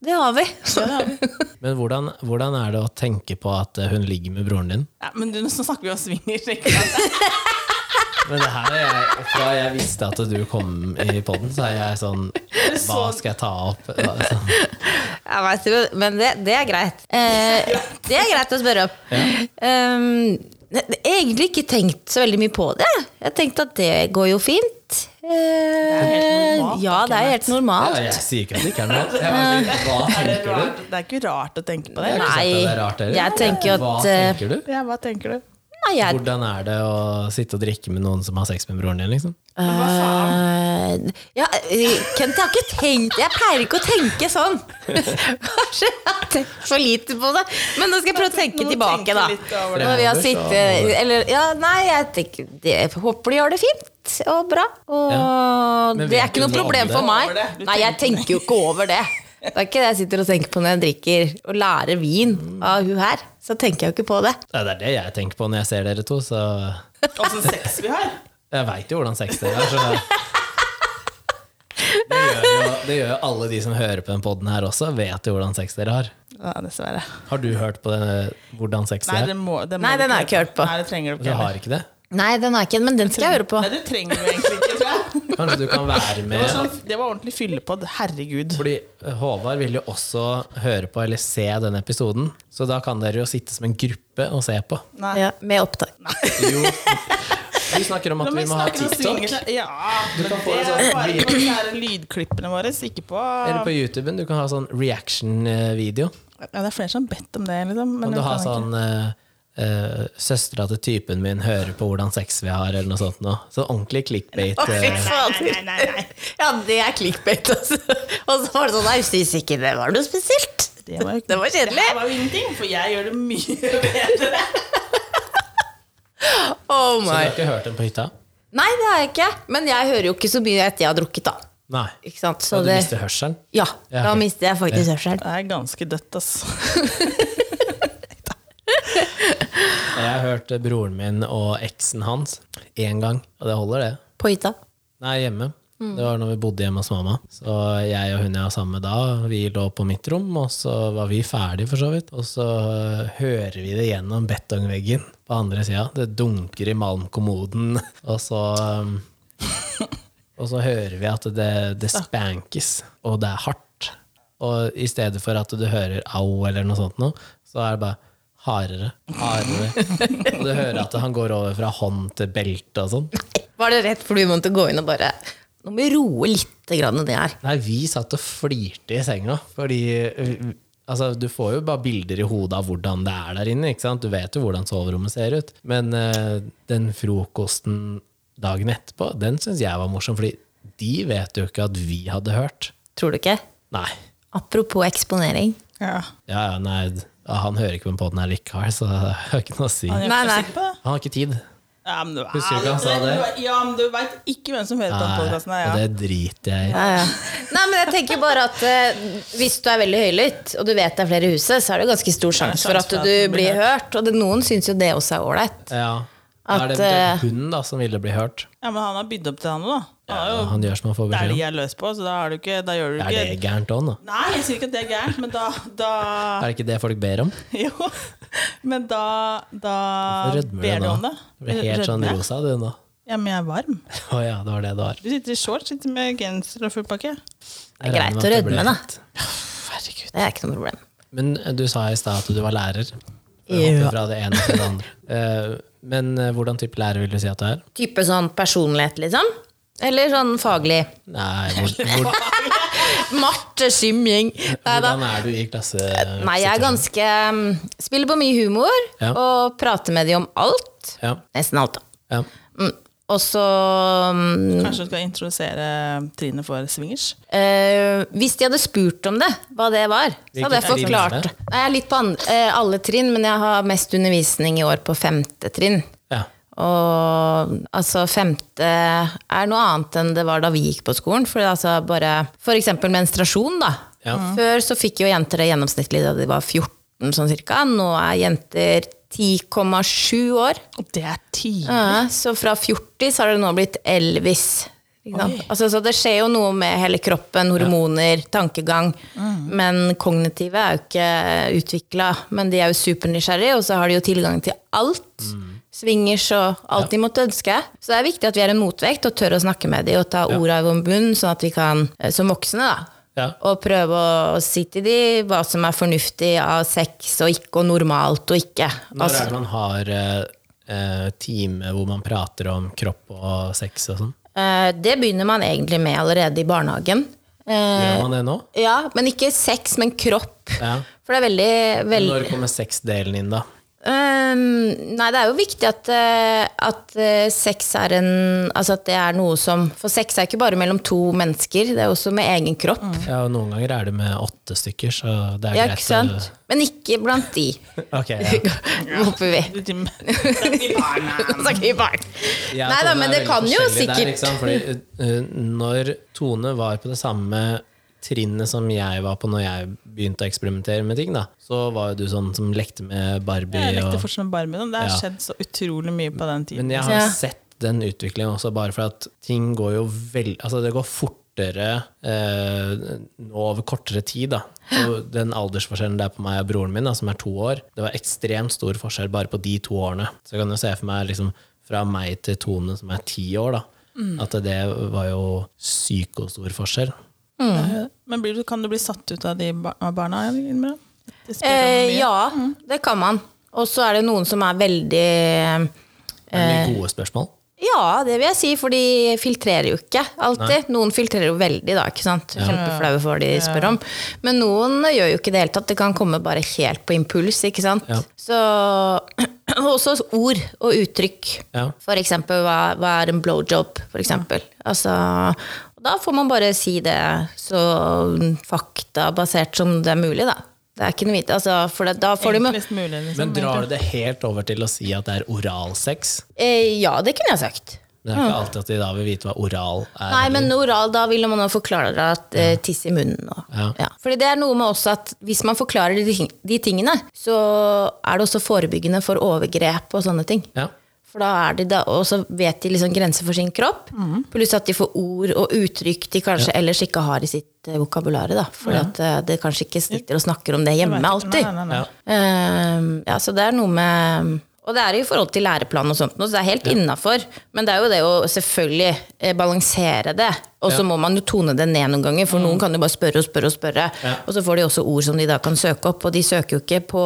det har vi.
Men hvordan, hvordan er det å tenke på at eh, hun ligger med broren din?
Ja, men du, nå snakker vi om swingers, ikke sant?
Men det her er jeg, fra jeg visste at du kom i poden, så er jeg sånn Hva skal jeg ta opp? Hva- sånn.
Jeg vet jo, men det, det er greit. Eh, det er greit å spørre opp. Um, ne- jeg har egentlig ikke tenkt så veldig mye på det. Jeg har tenkt at det går jo fint.
helt
Eh,
normalt,
ja, det er helt
Ja,
normalt.
jeg sier ikke at det ikke er noe. Jeg bare tenker, Hva
Er det,
tenker du?
rart? det er ikke rart å tenke på
Jeg
det.
har ikke sagt at det er
Nei,
rart heller.
jeg tenker jo
Hva
at, eh,
tenker du?
Ja, hva tenker du?
Nei, jeg,
Hvordan er det å sitte og drikke med noen som har sex med broren din, liksom?
eh, ja, eh, Kent, jeg har ikke tenkt Jeg pleier ikke å tenke sånn. Kanskje jeg har tenkt for lite på det. Men nå skal jeg prøve å tenke
Nå
tilbake,
tenker
da.
jeg litt over det.
Når vi har
Fremover, så-
sittet Eller ja, nei, jeg tenker det, jeg Håper de gjør det fint og bra. Og
Men
det
vet
er ikke
du
noe
noe om
problem
det?
for meg.
Over det? Du
Nei, jeg tenker jo ikke over det. Det er ikke det jeg sitter og tenker på når jeg drikker og lærer vin av hun her. Så tenker jeg jo ikke på det.
Ja, det er det jeg tenker på når jeg ser dere to, så
Åssen sex vi har?
jeg veit jo hvordan sex dere er. Så det gjør, jo, det gjør jo alle de som hører på den poden her også, vet jo hvordan sex dere har.
Ja, dessverre.
Har du hørt på det, hvordan sex
Nei,
er?
det må, det må
Nei,
du
den har jeg ikke hørt på.
Nei, det trenger du
Du
ikke.
har ikke det?
Nei, den har jeg ikke, men den skal jeg høre på.
Nei, det trenger du egentlig ikke, tror jeg.
Kanskje du kan være
Det var,
med?
sånn, det var ordentlig fyllepod. Herregud.
Fordi Håvard vil jo også høre på eller se den episoden, så da kan dere jo sitte som en gruppe og se på.
Nei.
Ja, med opptak.
Jo, vi snakker om at
Når
vi
vi
må ha
snakker om
TikTok.
swingers, Ja,
Du
men
kan få
det
en
er
sånn
bare på de her lydklippene våre, så ikke på
Eller
Ja,
på YouTuben. Du kan ha sånn reaction-video.
det er flere som har bedt om det, liksom.
Om
Men
du
jeg
har
kan ikke.
sånn eh, eh, Søstera til typen min hører på hvordan sex vi har, eller noe sånt. Nå. Så ordentlig clickbait. eh.
Nei, nei, nei, nei.
Ja, det er clickbait, altså. Og så var det sånn Nei, syns ikke det var noe spesielt.
Det var, jo-
Det var kjedelig.
Det her var jo ingenting, for jeg gjør det mye bedre.
Oh
Så du
my.
har ikke hørt den på hytta?
Nei, det har jeg ikke. Men jeg hører jo ikke så mye etter jeg har drukket, da.
Nei.
Ikke sant?
Så
Så
du
det,
mister hørselen?
ja,
Ja,
da
ok.
mister jeg faktisk hørselen.
Det er ganske dødt, ass.
Jeg har hørt eh, broren min og eksen hans én gang, og det holder, det.
På hytta.
Nei, hjemme. Det var når vi bodde hjemme hos mamma. Så jeg og hun jeg var sammen med da, vi lå på mitt rom, og så var vi ferdige for så vidt. Og så eh, hører vi det gjennom betongveggen på andre sida. Det dunker i malmkommoden, og så um, Og så hører vi at det, det spankes, og det er hardt. Og i stedet for at du hører au eller noe sånt noe, så er det bare hardere, hardere. Og du hører at han går over fra hånd til belte og sånn.
Var det rett for du måtte gå inn og bare Nå må vi roe litt grann ned her.
Nei, vi satt og flirte i senga, fordi uh, Altså, Du får jo bare bilder i hodet av hvordan det er der inne. ikke sant? Du vet jo hvordan soverommet ser ut. Men eh, den frokosten dagen etterpå, den syns jeg var morsom. fordi de vet jo ikke at vi hadde hørt.
Tror du ikke?
Nei.
Apropos eksponering.
Ja.
Ja, ja, nei, d- ja, Han hører ikke på den her likevel, så det har ikke noe å si. Han
Han gjør
Nei,
ikke
nei.
sikkert på det.
har ikke tid.
Ja, men du,
Husker du ikke han sa det?
Ja, men du veit ikke hvem som hører på den
Nei,
podkasten. Ja.
og det driter jeg i.
Ja, ja. Nei, men jeg tenker bare at eh, hvis du er veldig høylytt, og du vet det er flere i huset, så er det jo ganske stor sjanse for at du blir hørt. Og det, noen syns jo det også er ålreit.
Ja. Da
At,
er det
eh,
eventuelt hun da, som ville bli hørt.
Ja, men han har bydd opp til han nå, da. Han har jo
Han gjør som han får beskjed om.
dælja løs på, så da, er du ikke, da gjør du
Er
ikke
det gærent òg, nå?
Nei, jeg sier ikke at det er gærent, men da, da
Er det ikke det folk ber om?
Jo. Men da, da
Rødmer
ber
du
du om
nå?
det.
Du ble helt sånn
Rødmer jeg?
rosa du nå.
Ja, men jeg er varm.
Å ja, det var det det var.
Du sitter i shorts, sitter med genser og full pakke.
Det er
Jeg regner
greit
med at
å
det ble
rødme, da.
rett.
Herregud.
Det er ikke noe problem.
Men eh, du sa i stad at du var lærer. Jeg
Ja.
hopper Fra det ene til det andre. Eh, Men eh, hvordan type lærer vil du si at du er?
Type sånn personlighet, liksom? Eller sånn faglig?
Nei, hvor, hvor,
Marte Skimjing. Nei da. Eh,
hvordan er du i klasse?
Nei, jeg er ganske um, Spiller på mye humor
Ja.
og prater med de om alt.
Ja,
Nesten alt, da.
ja.
Mm. Og så um,
Kanskje du skal introdusere Trine for swingers?
eh, Hvis de hadde spurt om det, hva det var, så hadde jeg
Hvilket trinn er
forklart.
det?
Nei, jeg er litt på an- eh, alle trinn, men jeg har mest undervisning i år på femte trinn.
ja.
Og altså femte er noe annet enn det var da vi gikk på skolen. For, det er altså bare, for eksempel menstruasjon, da. Mm.
Ja. Mhm.
Før så fikk jo jenter det gjennomsnittlig da de var 14, sånn cirka. Nå er jenter 10,7 år.
Det er tidlig.
Ja, så fra 40 så har det nå blitt Elvis. Ikke sant? Altså, så det skjer jo noe med hele kroppen, hormoner, tankegang.
Mm.
Men kognitive
Mm.
er jo ikke utvikla. Men de er jo supernysgjerrige, og så har de jo tilgang til alt. Swingers og alt de måtte ønske. Så det er viktig at vi er en motvekt og tør å snakke med dem og ta orda i vår bunn, sånn at vi kan, eh, som voksne, da,
Ja.
og prøve å si til dem hva som er fornuftig av sex og ikke, og normalt og ikke. Altså,
Når er det man har eh, eh, time hvor man prater om kropp og sex og sånn?
Eh, Det begynner man egentlig med allerede i barnehagen. Eh,
Gjør man det nå?
Ja, men ikke sex, men kropp.
Ja.
For det er veldig, veldig
Når kommer sexdelen inn, da?
Øhm, Nei, det er jo viktig at, eh, at eh, sex er en Altså at det er noe som For sex er ikke bare mellom to mennesker, det er også med egen kropp.
Ja, og Noen ganger er det med åtte stykker, så det er
Ja,
greit
ikke sant? Men ikke blant de,
å Ok, ja.
håper vi.
Du, Tim.
Nå snakker vi barn.
Jeg og
Nei da,
Tone er
men det
veldig
kan jo
forskjellige der,
sikkert
ikke sant? Fordi, eh, når Tone var på det samme trinnet som jeg var på når jeg begynte å eksperimentere med ting, da, så var jo du sånn som lekte med Barbie.
Jeg lekte
og,
fortsatt med Barbie. da. Det har
Ja.
skjedd så utrolig mye på den tiden.
Men jeg har
Ja.
sett den utviklingen også, bare for at ting går jo vel, altså det går fortere eh, nå over kortere tid. da. Så den aldersforskjellen det er på meg og broren min, da, som er to år, det var ekstremt stor forskjell bare på de to årene. Så jeg kan jo se for meg liksom, fra meg til Tone, som er ti år, da,
Mm.
at det var jo psykostor forskjell.
Mm. Men blir du, kan du bli satt ut av de bar av barna? innimellom? Det spør om
eh,
mye.
Ja, det kan man. Og så er det noen som er veldig
Det er
Eh.
mye gode spørsmål.
Ja, det vil jeg si, for de filtrerer jo ikke alltid. Noen filtrerer jo veldig, da. ikke sant? Kjempeflaue for hva de spør om. Men noen gjør jo ikke det helt tatt. Det kan komme bare helt på impuls. ikke sant?
Ja.
Så også ord og uttrykk.
Ja.
For eksempel, hva, hva er en blowjob, for eksempel. Altså, og da får man bare si det så faktabasert som det er mulig, da. Det er ikke noe vits. Altså, for det, da får du
Enklest mulig, liksom.
Men drar du det helt over til å si at det er oralsex?
eh, Ja, det kunne jeg sagt.
Det er ikke alltid at de da vil vite hva oral er.
Mm. Nei, men oral, da ville man jo forklare at eh, tiss i munnen. Og, ja.
Ja.
Fordi det er noe med også at hvis man forklarer de, ting- de tingene, så er det også forebyggende for overgrep og sånne ting.
Ja.
For da er de da, og så vet de liksom grenser for sin kropp, pluss at de får ord og uttrykk de kanskje ellers ikke har i sitt eh, vokabulare. da, Fordi at eh, det kanskje ikke sitter og snakker om det hjemme alltid.
Nei, nei, nei.
Ja.
Ehm, ja, så det er noe med Og det er i forhold til læreplan og sånt, nå, så det er helt innafor. Men det er jo det å selvfølgelig eh, balansere det. Og så må man jo tone det ned noen ganger, for
Mm.
noen kan jo bare spørre og spørre. Og spørre Og så får de også ord som de da kan søke opp, og de søker jo ikke på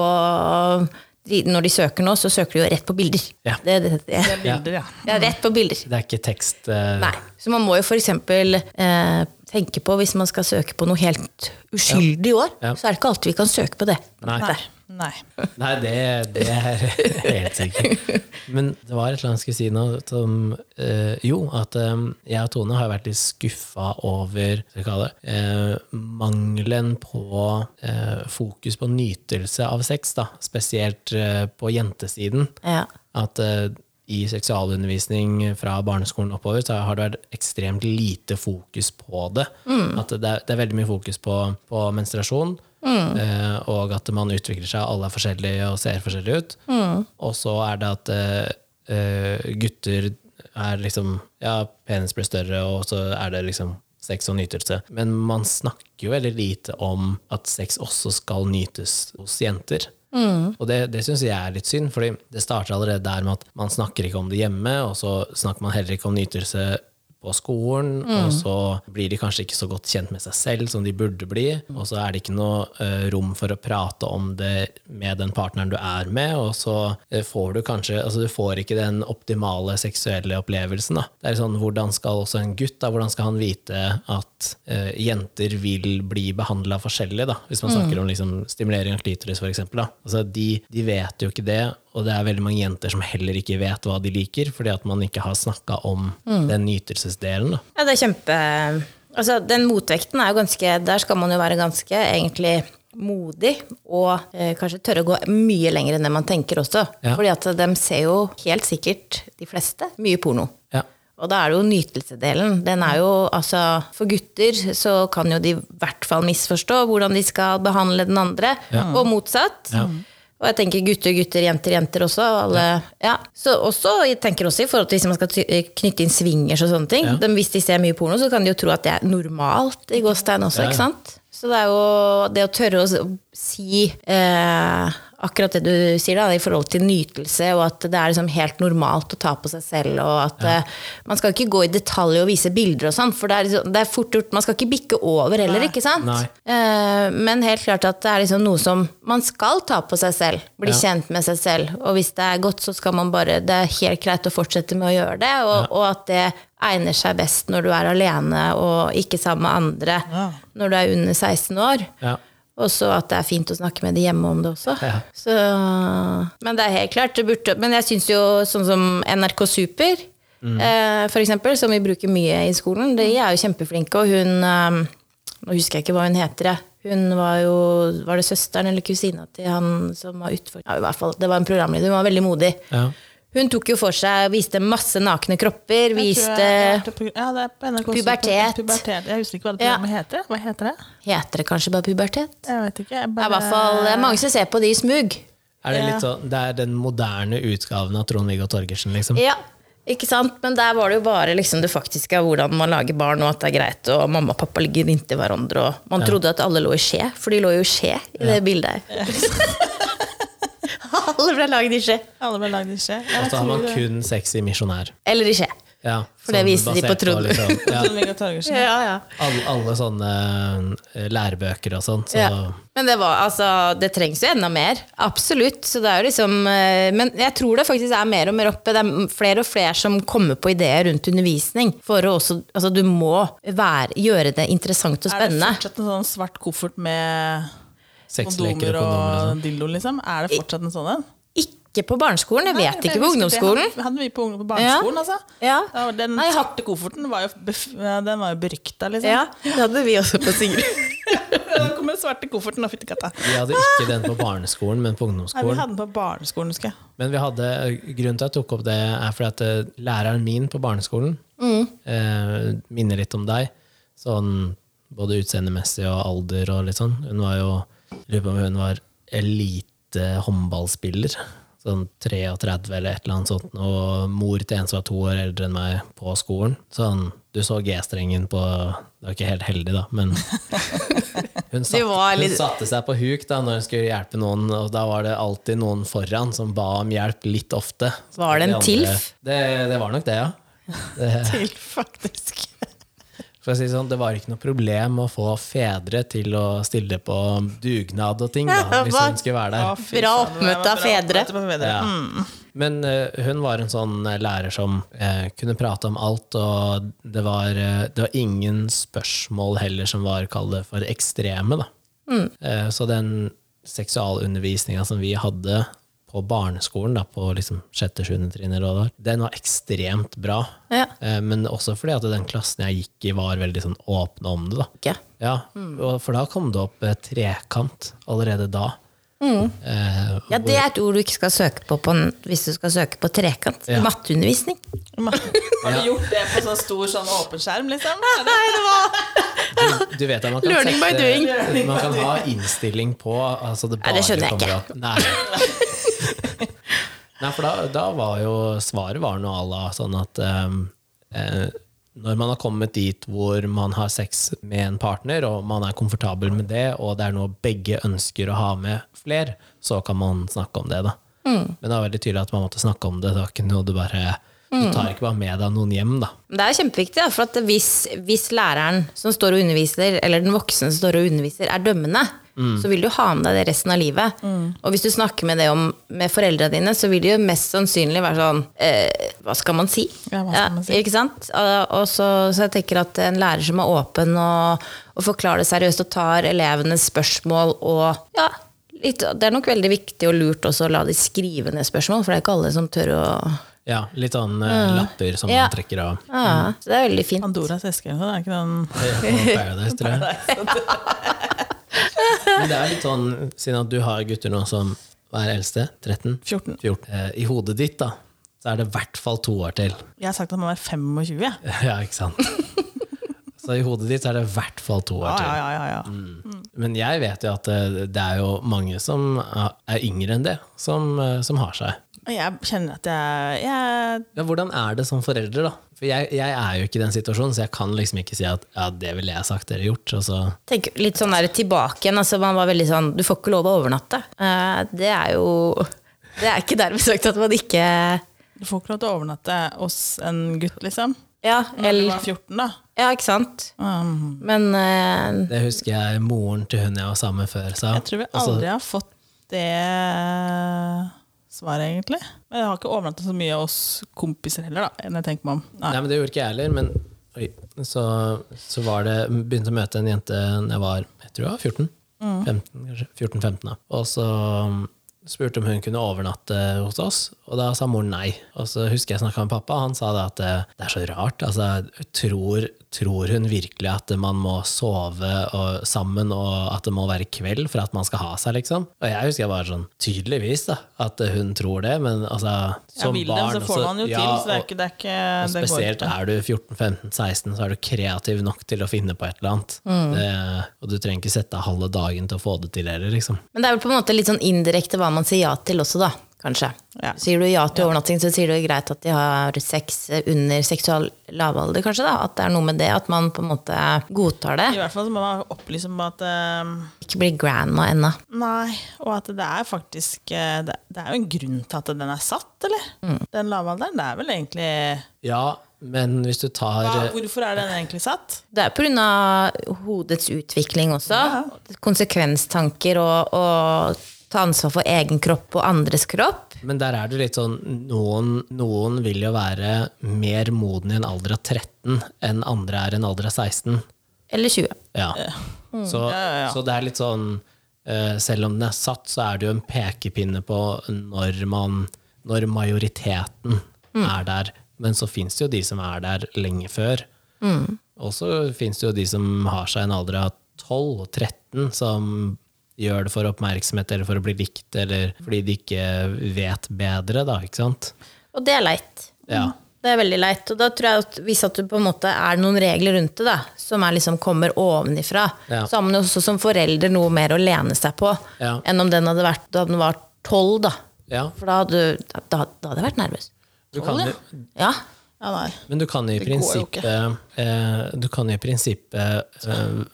de, Når de søker nå, så søker de jo rett på bilder.
Ja.
Det, det, det,
Det er bilder, ja.
det er rett på bilder.
Det er ikke tekst eh,
Nei. Så man må jo f.eks. Eh, tenke på, hvis man skal søke på noe helt uskyldig i år,
Ja.
så er det ikke alltid vi kan søke på det.
Nei.
Nei. nei.
Nei, det, det er helt sikkert. Men det var et eller annet jeg skulle si nå som eh, Jo, at eh, jeg og Tone har vært litt skuffa over hva skal jeg kalle det, eh, mangelen på eh, fokus på nytelse av sex, da, spesielt eh, på jentesiden.
Ja.
At eh, i seksualundervisning fra barneskolen oppover så har det vært ekstremt lite fokus på det. At det er, det er veldig mye fokus på, på menstruasjon, eh, og at man utvikler seg, alle er forskjellige og ser forskjellige ut. Og så er det at eh, eh, gutter er liksom Ja, penis blir større, og så er det liksom sex og nytelse. Men man snakker jo veldig lite om at sex også skal nytes hos jenter. Og det, det syns jeg er litt synd, fordi det starter allerede der med at man snakker ikke om det hjemme, og så snakker man heller ikke om nytelse på skolen, og så blir de kanskje ikke så godt kjent med seg selv som de burde bli, og så er det ikke noe eh, rom for å prate om det med den partneren du er med, og så eh, får du kanskje altså Du får ikke den optimale seksuelle opplevelsen. da. Det er sånn, Hvordan skal også en gutt da, hvordan skal han vite at eh, jenter vil bli behandla forskjellig, da, hvis man snakker om liksom, stimulering av klitoris f.eks.? Altså, de, de vet jo ikke det, og det er veldig mange jenter som heller ikke vet hva de liker, fordi at man ikke har snakka om
Mm.
den nytelsesdelen. Da.
Ja, det er kjempe... Altså, den motvekten er jo ganske Der skal man jo være ganske egentlig modig, og eh, kanskje tørre å gå mye lenger enn det man tenker også.
Ja.
Fordi at de ser jo helt sikkert, de fleste, mye porno.
Ja.
Og da er det jo nytelsedelen. Den er jo, altså, for gutter så kan jo de i hvert fall misforstå hvordan de skal behandle den andre, og motsatt. Og jeg tenker gutter, gutter, jenter, jenter også. Alle, ja. Så også, jeg tenker også i forhold til hvis man skal ty- eh, knytte inn swingers og sånne ting. De, hvis de ser mye porno, så kan de jo tro at det er normalt i gåstegn
Ja,
også,
ja.
ikke sant? Så det er jo det å tørre å s- si eh, akkurat det du sier da, i forhold til nytelse, og at det er liksom helt normalt å ta på seg selv. og at eh, Man skal ikke gå i detalj og vise bilder og sånn, for det er, liksom, det er fort gjort. Man skal ikke bikke over heller, ikke sant?
Nei.
Eh, men helt klart at det er liksom noe som man skal ta på seg selv. Bli
Ja.
kjent med seg selv. Og hvis det er godt, så skal man bare Det er helt greit å fortsette med å gjøre det, og, og at det egner seg best når du er alene og ikke sammen med andre
Ja.
når du er under 16 år.
Ja.
Og så at det er fint å snakke med de hjemme om det også.
Ja.
Så, men det er helt klart, det burde Men jeg syns jo sånn som NRK Super,
Mm.
eh, for eksempel, som vi bruker mye i skolen, de er jo kjempeflinke, og hun eh, Nå husker jeg ikke hva hun heter, jeg. Hun var jo Var det søsteren eller kusina til han som var utfor... Ja, i hvert fall, det var en programleder. Hun var veldig modig.
Ja.
Hun tok jo for seg, viste masse nakne kropper,
Jeg tror
viste
jeg hørte på- Ja, det er på NRK
Pubertet.
pubertet. Jeg husker ikke hva det
Ja.
programmet heter. Hva heter det?
Heter det kanskje bare pubertet?
Jeg vet ikke. Jeg
Det
bare,
er i hvert fall eh, det er mange som ser på det i smug.
Er det,
Ja.
litt sånn, det er den moderne utgaven av Trond-Viggo Torgersen, liksom?
Ja, ikke sant? Men der var det jo bare liksom det faktiske av hvordan man lager barn, og at det er greit, og mamma og pappa ligger inntil hverandre, og man trodde at alle lå i skje, for de lå jo i skje i det bildet her. alle ble laget i skje.
Alle ble lagd i skje.
Og
Jeg
så Altså, har man
tror det.
kun sex i misjonær.
Eller i skje.
Ja,
For det
sånn
viste de
basert
på Trond.
liksom, ja,
Trond-Viggo Torgersen.
Ja, ja.
alle, alle sånne eh, lærebøker og sånn. Så
Ja. Men det, var, altså, det trengs jo enda mer. Absolutt. Så det er jo liksom, eh, men jeg tror det faktisk er mer og mer oppe. Det er flere og flere som kommer på ideer rundt undervisning. For å også, altså, du må være, gjøre det interessant og
Er det
spennende.
fortsatt en sånn svart koffert med
sexleker og
kondomer
kondomer og sånn.
og dildo, liksom? Er det fortsatt en sånn en?
Ikke på barneskolen, jeg
Nei,
vet
men
ikke på
husker det
ungdomsskolen.
Hadde, hadde vi på, ungdom- på barneskolen, altså?
Ja.
Da var Den
Nei, jeg har-
svarte kofferten var jo, bef ja, den var jo berykta, liksom.
Ja, det hadde vi også på Sigrid.
Da kom den svarte kofferten og fittekatta.
Vi hadde ikke den på barneskolen, men på
Nei, vi
ungdomsskolen.
hadde den på barneskolen, husker jeg.
Men vi hadde, eh, grunnen til at jeg tok opp det, er fordi at eh, læreren min på barneskolen eh, minner litt om deg. Sånn både utseendemessig og alder og litt sånn. Hun var jo jeg Lurer på om hun var elite håndballspiller. Sånn 33 eller et eller annet sånt. Og mor til en som var to år eldre enn meg på skolen. Sånn, du så G-strengen på Det var ikke helt heldig, da, men hun satte,
var litt-
hun satte seg på huk da når hun skulle hjelpe noen, og da var det alltid noen foran som ba om hjelp litt ofte.
Var det en
andre-
tilf?
Det, det var nok det, ja.
Til, faktisk.
For å si det sånn, det var ikke noe problem å få fedre til å stille på dugnad og ting, da, hvis hun skulle være der.
Å, fy
Bra
faen, det var
oppmøte av
bra
fedre.
oppmøte på fedre.
Ja. Men eh, hun var en sånn eh, lærer som eh, kunne prate om alt, og det var, eh, det var ingen spørsmål heller som var, kall det, for ekstreme. Da. Eh, så den seksualundervisninga som vi hadde på barneskolen, da, på liksom sjette, sjuende trinner, og der, den var ekstremt bra.
Ja.
Eh, men også fordi at den klassen jeg gikk i, var veldig sånn åpne om det. da.
Ikke.
Ja, og For da kom det opp eh, trekant allerede da. Eh,
Ja, det er et ord du ikke skal søke på, på en- hvis du skal søke på trekant.
Ja.
Matteundervisning.
Har du gjort det på sånn stor sånn åpen skjerm, liksom?
du, du vet at man kan
Learning by doing.
sette Man kan ha innstilling på altså det,
Nei, det
bare
skjønner jeg
kommer
ikke.
opp. Nei. Nei, for da, da var jo svaret var noe à la sånn at ehm, eh, når man har kommet dit hvor man har sex med en partner, og man er komfortabel med det, og det er noe begge ønsker å ha med flere, så kan man snakke om det, da.
Mm.
Men det var veldig tydelig at man måtte snakke om det. Det var ikke noe du bare Du tar
Mm.
ikke bare med deg noen hjem, da.
Men Det er kjempeviktig, da, for at hvis, hvis læreren som står og underviser, eller den voksne som står og underviser, er dømmende, så vil du ha med deg det resten av livet.
Mm.
Og hvis du snakker med det om med foreldrene dine, så vil det jo mest sannsynlig være sånn eh, Hva skal man si?
Ja, hva skal man si?
Ikke sant? Og- Og så, så jeg tenker at en lærer som er åpen og, og forklarer det seriøst og tar elevenes spørsmål og ja, litt, Det er nok veldig viktig og lurt også å la de skrive ned spørsmål, for det er ikke alle som tør å
Ja, litt sånn eh, lapper som
Mm. Ja.
man trekker av.
ja, Så det er veldig fint.
Pandoras eske, så det er ikke den
Paradise, tror jeg. Men det er litt sånn, siden at du har gutter nå som hva er eldste? 13?
14.
14. Eh, I hodet ditt, da, så er det i hvert fall to år til.
Jeg har sagt at man er 25, jeg.
Ja, ikke sant? Så i hodet ditt er det i hvert fall to år
Ja, ja,
til.
ja, ja, ja.
Mm. Men jeg vet jo at eh, det er jo mange som er yngre enn det, som, eh, som har seg.
Og jeg kjenner at jeg, jeg
Ja, hvordan er det som foreldre, da? For jeg, jeg er jo ikke i den situasjonen, så jeg kan liksom ikke si at ja, det ville jeg sagt eller gjort. Og så
Tenk litt sånn der tilbake igjen. Altså, man var veldig sånn Du får ikke lov å overnatte. Eh, Det er jo Det er ikke dermed sagt at man ikke
Du får ikke lov til å overnatte hos en gutt, liksom.
Ja,
Når du
eller
var 14, da.
Ja, ikke sant?
Um,
Men eh,
det husker jeg moren til hun jeg var sammen med før sa.
jeg tror vi
Altså,
aldri har fått det svaret, egentlig. Men jeg har ikke overnatta så mye hos kompiser heller, da, enn jeg tenker meg om. Nei.
Nei, men det gjorde ikke jeg heller. Men oi, så, så var det Begynte å møte en jente da jeg var jeg tror jeg var 14.
Mm.
15, kanskje. 14-15, da. Og så um, spurte om hun kunne overnatte hos oss, og da sa moren nei. Og så husker jeg snakka med pappa, og han sa det at eh, det er så rart. Altså, tror, tror hun virkelig at man må sove og, sammen, og at det må være kveld for at man skal ha seg, liksom? Og jeg husker jeg var sånn Tydeligvis, da, at hun tror det, men altså
Jeg vil det, så får man jo
ja,
til. Så det
og-
er ikke, det er ikke
og
det går
spesielt
ikke.
er du 14-15-16, så er du kreativ nok til å finne på et eller annet.
Mm.
Det, og du trenger ikke sette av halve dagen til å få det til heller, liksom.
Men det er vel på en måte litt sånn indirekte hva man sier ja til også, da. Kanskje.
Ja.
Sier du ja til overnatting, så sier du greit at de har sex under seksual lavalder, kanskje. da. At det er noe med det, at man på en måte godtar det.
I hvert fall så må man opplyse om at eh,
Ikke blir grandma ennå.
Nei, og at det er faktisk eh, Det, det er jo en grunn til at den er satt, eller? Den lavalderen, det er vel egentlig
Ja, men hvis du tar
hva, Hvorfor er den egentlig satt?
Det er pga. hodets utvikling også. Konsekvenstanker og, og ta ansvar for egen kropp og andres kropp.
Men der er det litt sånn noen, noen vil jo være mer moden i en alder av 13 enn andre er i en alder av 16.
Eller 20.
Ja. Eh, Så, så det er litt sånn eh, Selv om den er satt, så er det jo en pekepinne på når, man, når majoriteten er der. Men så fins det jo de som er der lenge før. Og så fins det jo de som har seg en alder av 12-13, som gjør det for oppmerksomhet eller for å bli likt, eller fordi de ikke vet bedre, da, ikke sant?
Og det er leit.
Ja.
Det er veldig leit. Og da tror jeg at hvis at du på en måte er noen regler rundt det, da, som er liksom kommer ovenifra,
Ja.
så har man jo også som forelder noe mer å lene seg på
Ja.
enn om den hadde vært da den var tolv, da.
ja.
For da hadde, du- da, da hadde jeg vært nervøs.
Du kan jo
Ja.
Ja, nei.
Men du kan jo i
går jo
prinsippet eh, Du kan jo i prinsippet eh,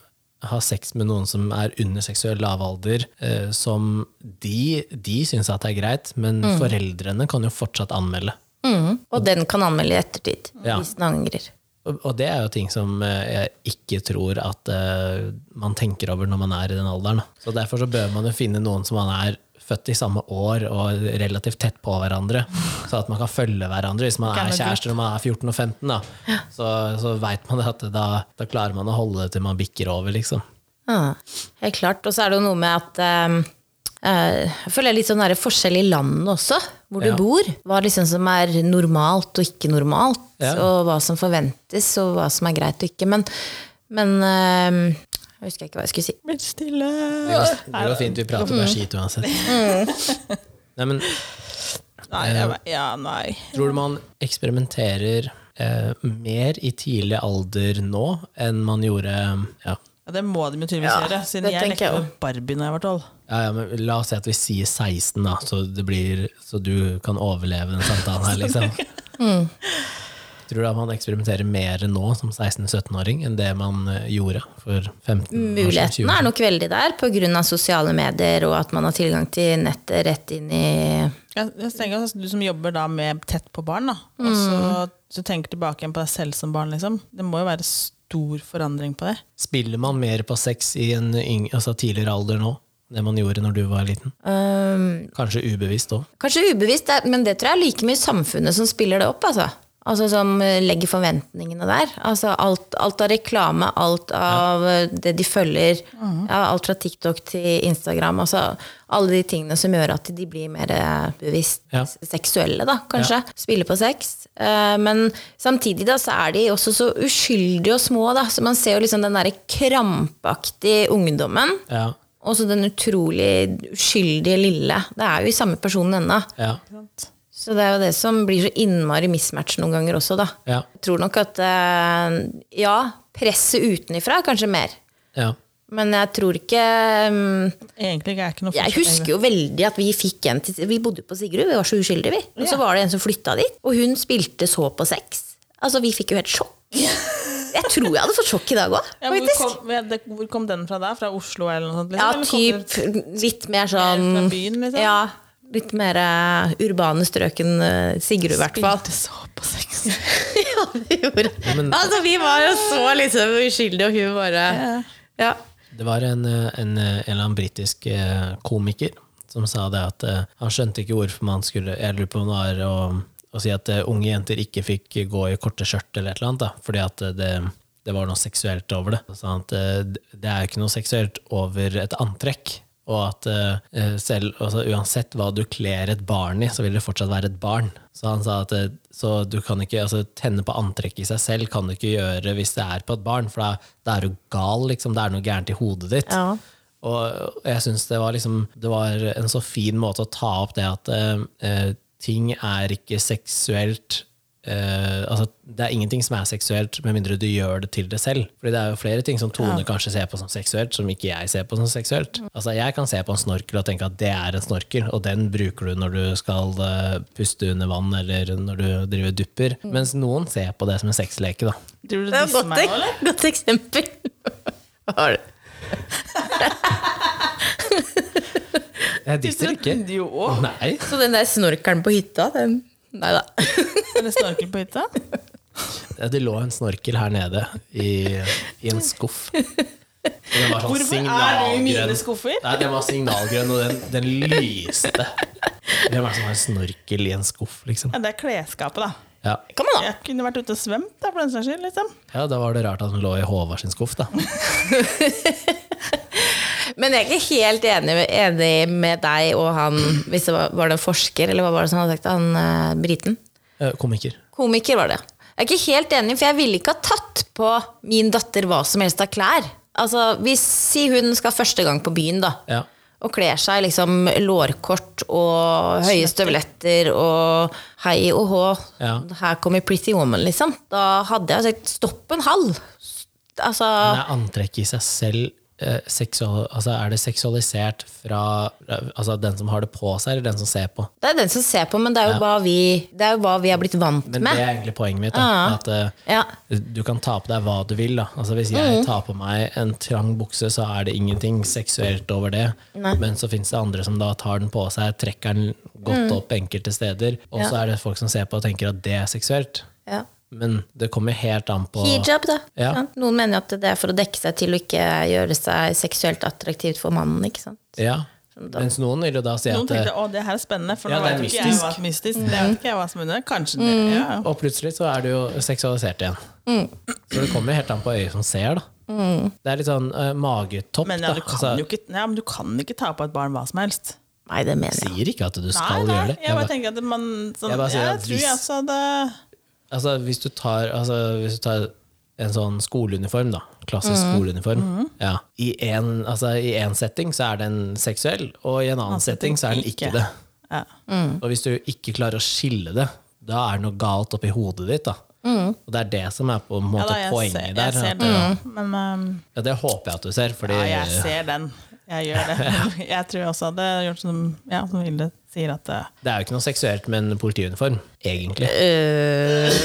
ha sex med noen som er under seksuell lavalder, eh, som de, de syns at er greit, men foreldrene kan jo fortsatt anmelde.
Mhm. Og den kan anmelde i ettertid
Ja.
hvis den angrer.
Og, og det er jo ting som eh, jeg ikke tror at eh, man tenker over når man er i den alderen. da. Så derfor så bør man jo finne noen som man er født i samme år og relativt tett på hverandre, så at man kan følge hverandre hvis man er kjærester når man er 14 og 15. Da. Så, så veit man det at da, da klarer man å holde det til man bikker over, liksom.
Ja, helt klart. Og så er det jo noe med at ehm, eh, jeg føler litt sånn der forskjell i landet også, hvor
Ja.
du bor. Hva liksom som er normalt og ikke normalt,
Ja.
og hva som forventes, og hva som er greit og ikke. Men, men ehm, jeg husker ikke hva jeg skulle si.
Blitt stille
Det går, det går fint, vi prater bare skit uansett. Nei, men
Nei, jeg, ja, nei.
Tror du man eksperimenterer eh, mer i tidlig alder nå enn man gjorde ja,
Ja, det må de jo tydeligvis
Ja,
gjøre, siden
det
jeg
tenker
lekte
jeg
med Barbie da jeg var tolv.
Ja, ja, men La oss si at vi sier 16, da, så, det blir, så du kan overleve den samtalen her. liksom. Tror du at man eksperimenterer mer nå som 16-17-åring enn det man eh, gjorde for 15
Mulighetene er
år siden?
nok veldig der pga. sosiale medier og at man har tilgang til nettet rett inn i
Jeg, jeg tenker at Du som jobber da med tett på barn, da, og så, så tenker tilbake igjen på deg selv som barn. liksom. Det må jo være stor forandring på det.
20? Spiller man mer på sex i en yng, altså tidligere alder nå enn det man gjorde når du var liten?
ehm,
Kanskje ubevisst òg?
Kanskje ubevisst, det er- men det tror jeg er like mye samfunnet som spiller det opp. altså. Altså Som eh, legger forventningene der. Altså Alt, alt av reklame, alt av eh, det de følger. Ja, alt fra TikTok til Instagram. altså Alle de tingene som gjør at de blir mer eh, bevisst
Ja.
seksuelle, da, kanskje. Spiller på sex. Eh, Men samtidig da, så er de også så uskyldige og små. da, så Man ser jo liksom den derre krampaktige ungdommen.
Ja,
Og så den utrolig uskyldige lille. Det er jo i samme personen ennå.
ja,
Så det er jo det som blir så innmari mismatch noen ganger også, da.
ja,
Jeg tror nok at eh, ja, presset utenifra er kanskje mer.
ja.
Men jeg tror ikke mm,
Egentlig er jeg ikke noe
Jeg
forskjell.
husker jo veldig at vi fikk en til Vi bodde jo på Sigrud, vi var så uskyldige, vi. Og så var det en som flytta dit, og hun spilte så på sex. Altså, vi fikk jo helt sjokk. Jeg tror jeg hadde fått sjokk i dag òg,
Ja, hvor,
faktisk.
kom, ja, det- hvor kom den fra da? Fra Oslo eller noe sånt? liksom?
Ja,
Eller kom den
typ litt mer sånn
Fra byen, liksom?
Ja, litt mer eh, urbane strøk enn eh, Sigrud, i hvert fall.
Spilte så på sex.
Ja, det gjorde Altså, vi var jo så liksom uskyldige, og hun bare Ja.
Det var en, eh, en, eh, en eller annen britisk eh, komiker som sa det at eh, han skjønte ikke hvorfor man skulle Jeg lurer på om det var å, å si at eh, unge jenter ikke fikk gå i korte skjørt eller et eller annet, da, fordi at eh, det, det var noe seksuelt over det. Så sa han at eh, det er ikke noe seksuelt over et antrekk. Og at eh, selv, altså, uansett hva du kler et barn i, så vil det fortsatt være et barn. Så han sa at eh, så du kan ikke altså, tenne på antrekket i seg selv kan du ikke gjøre hvis det er på et barn, for da, da er du gal, liksom. Det er noe gærent i hodet ditt.
Ja.
Og jeg syns det var liksom Det var en så fin måte å ta opp det at eh, eh, ting er ikke seksuelt eh, altså, Det er ingenting som er seksuelt, med mindre du gjør det til det selv. Fordi det er jo flere ting som Tone kanskje ser på som seksuelt, som ikke jeg ser på som seksuelt. Altså Jeg kan se på en snorkel og tenke at det er en snorkel, og den bruker du når du skal eh, puste under vann eller når du driver dupper. Mens noen ser på det som en sexleke, da.
Driver du og
Det er et
disser
godt,
meg nå, eller?
ek godt eksempel. Hva har du?
Jeg dikter ikke.
Jo.
Nei.
Så den der snorkelen på hytta, den Nei da.
Er det snorkel på hytta?
Ja, Det lå en snorkel her nede i, i en skuff. Og Den var sånn
Hvorfor er
signalgrønn.
det i mine skuffer?
Nei, den var signalgrønn, og den, den lyste. Hvem er det som har en snorkel i en skuff, liksom?
Ja, det er klesskapet, da.
Ja.
Kom an, da.
Jeg kunne vært ute og svømt, da, for den saks skyld. Liksom.
ja, da var det rart at den lå i Håvard sin skuff, da.
Men jeg er ikke helt enig, enig med deg og han Hvis det var, var det en forsker, eller hva var det som hadde sagt det? Han eh, briten?
Eh, Komiker.
Komiker var det. Jeg er ikke helt enig, for jeg ville ikke ha tatt på min datter hva som helst av klær. Altså, hvis Si hun skal første gang på byen, da.
Ja.
Og kler seg liksom lårkort og høye støvletter og hei og hå.
Ja.
Her kommer Pretty Woman, liksom. Da hadde jeg sagt stopp en halv. Altså,
Men er antrekket i seg selv eh, seksual, altså Er det seksualisert fra eh, altså den som har det på seg, eller den som ser på?
det er den som ser på, men det er jo, hva, vi, det er, jo hva vi er blitt vant
Men det
med.
er egentlig poenget mitt. Da,
Ja.
at eh,
Ja.
Du kan ta på deg hva du vil. Da. Altså, hvis jeg tar på meg en trang bukse, så er det ingenting seksuelt over det. Men så fins det andre som da tar den på seg, trekker den godt opp enkelte steder. Og så er det folk som ser på og tenker at det er seksuelt.
Ja.
Men det kommer helt an på
Hijab, da.
Ja.
Sant? Noen mener jo at det er for å dekke seg til og ikke gjøre seg seksuelt attraktivt for mannen. ikke sant?
Ja. Mens noen vil jo da si
Noen
at eh,
tenkte å, det her er spennende, for
Ja,
nå
det er
vet jo ikke jeg hva som er mystisk. Det vet ikke jeg hva som er under. Kanskje det. Ja. ja.
Og plutselig så er det jo seksualisert igjen. Så det kommer helt an på øyet som ser, da. Det er litt sånn eh, magetopp,
Men, ja,
da.
du
Altså,
kan jo ikke, ja, men du kan ikke ta på et barn hva som helst.
Nei, det mener jeg.
sier ikke at du skal gjøre det.
Jeg bare tenker at man sånn,
Jeg bare sier
ja,
at
Jeg tror
hvis-
jeg også hadde
Altså, hvis du tar, altså, hvis du tar en sånn skoleuniform, da, klassisk
Mm.
skoleuniform, ja. i én altså, i en setting så er den seksuell, og i en annen setting så er den ikke det.
ja.
Og hvis du ikke klarer å skille det, da er det noe galt oppi hodet ditt. da. Og det er det som er på en
Mm. Ja,
måte
da, jeg, ser,
poenget
jeg
der.
ser
at-
den, men um,
ja, det håper jeg at du ser, fordi
ja, jeg ser den. Jeg gjør det. Jeg tror jeg også hadde gjort som, ja, som Vilde sier, at uh,
det er jo ikke noe seksuelt med en politiuniform, egentlig.
Øh.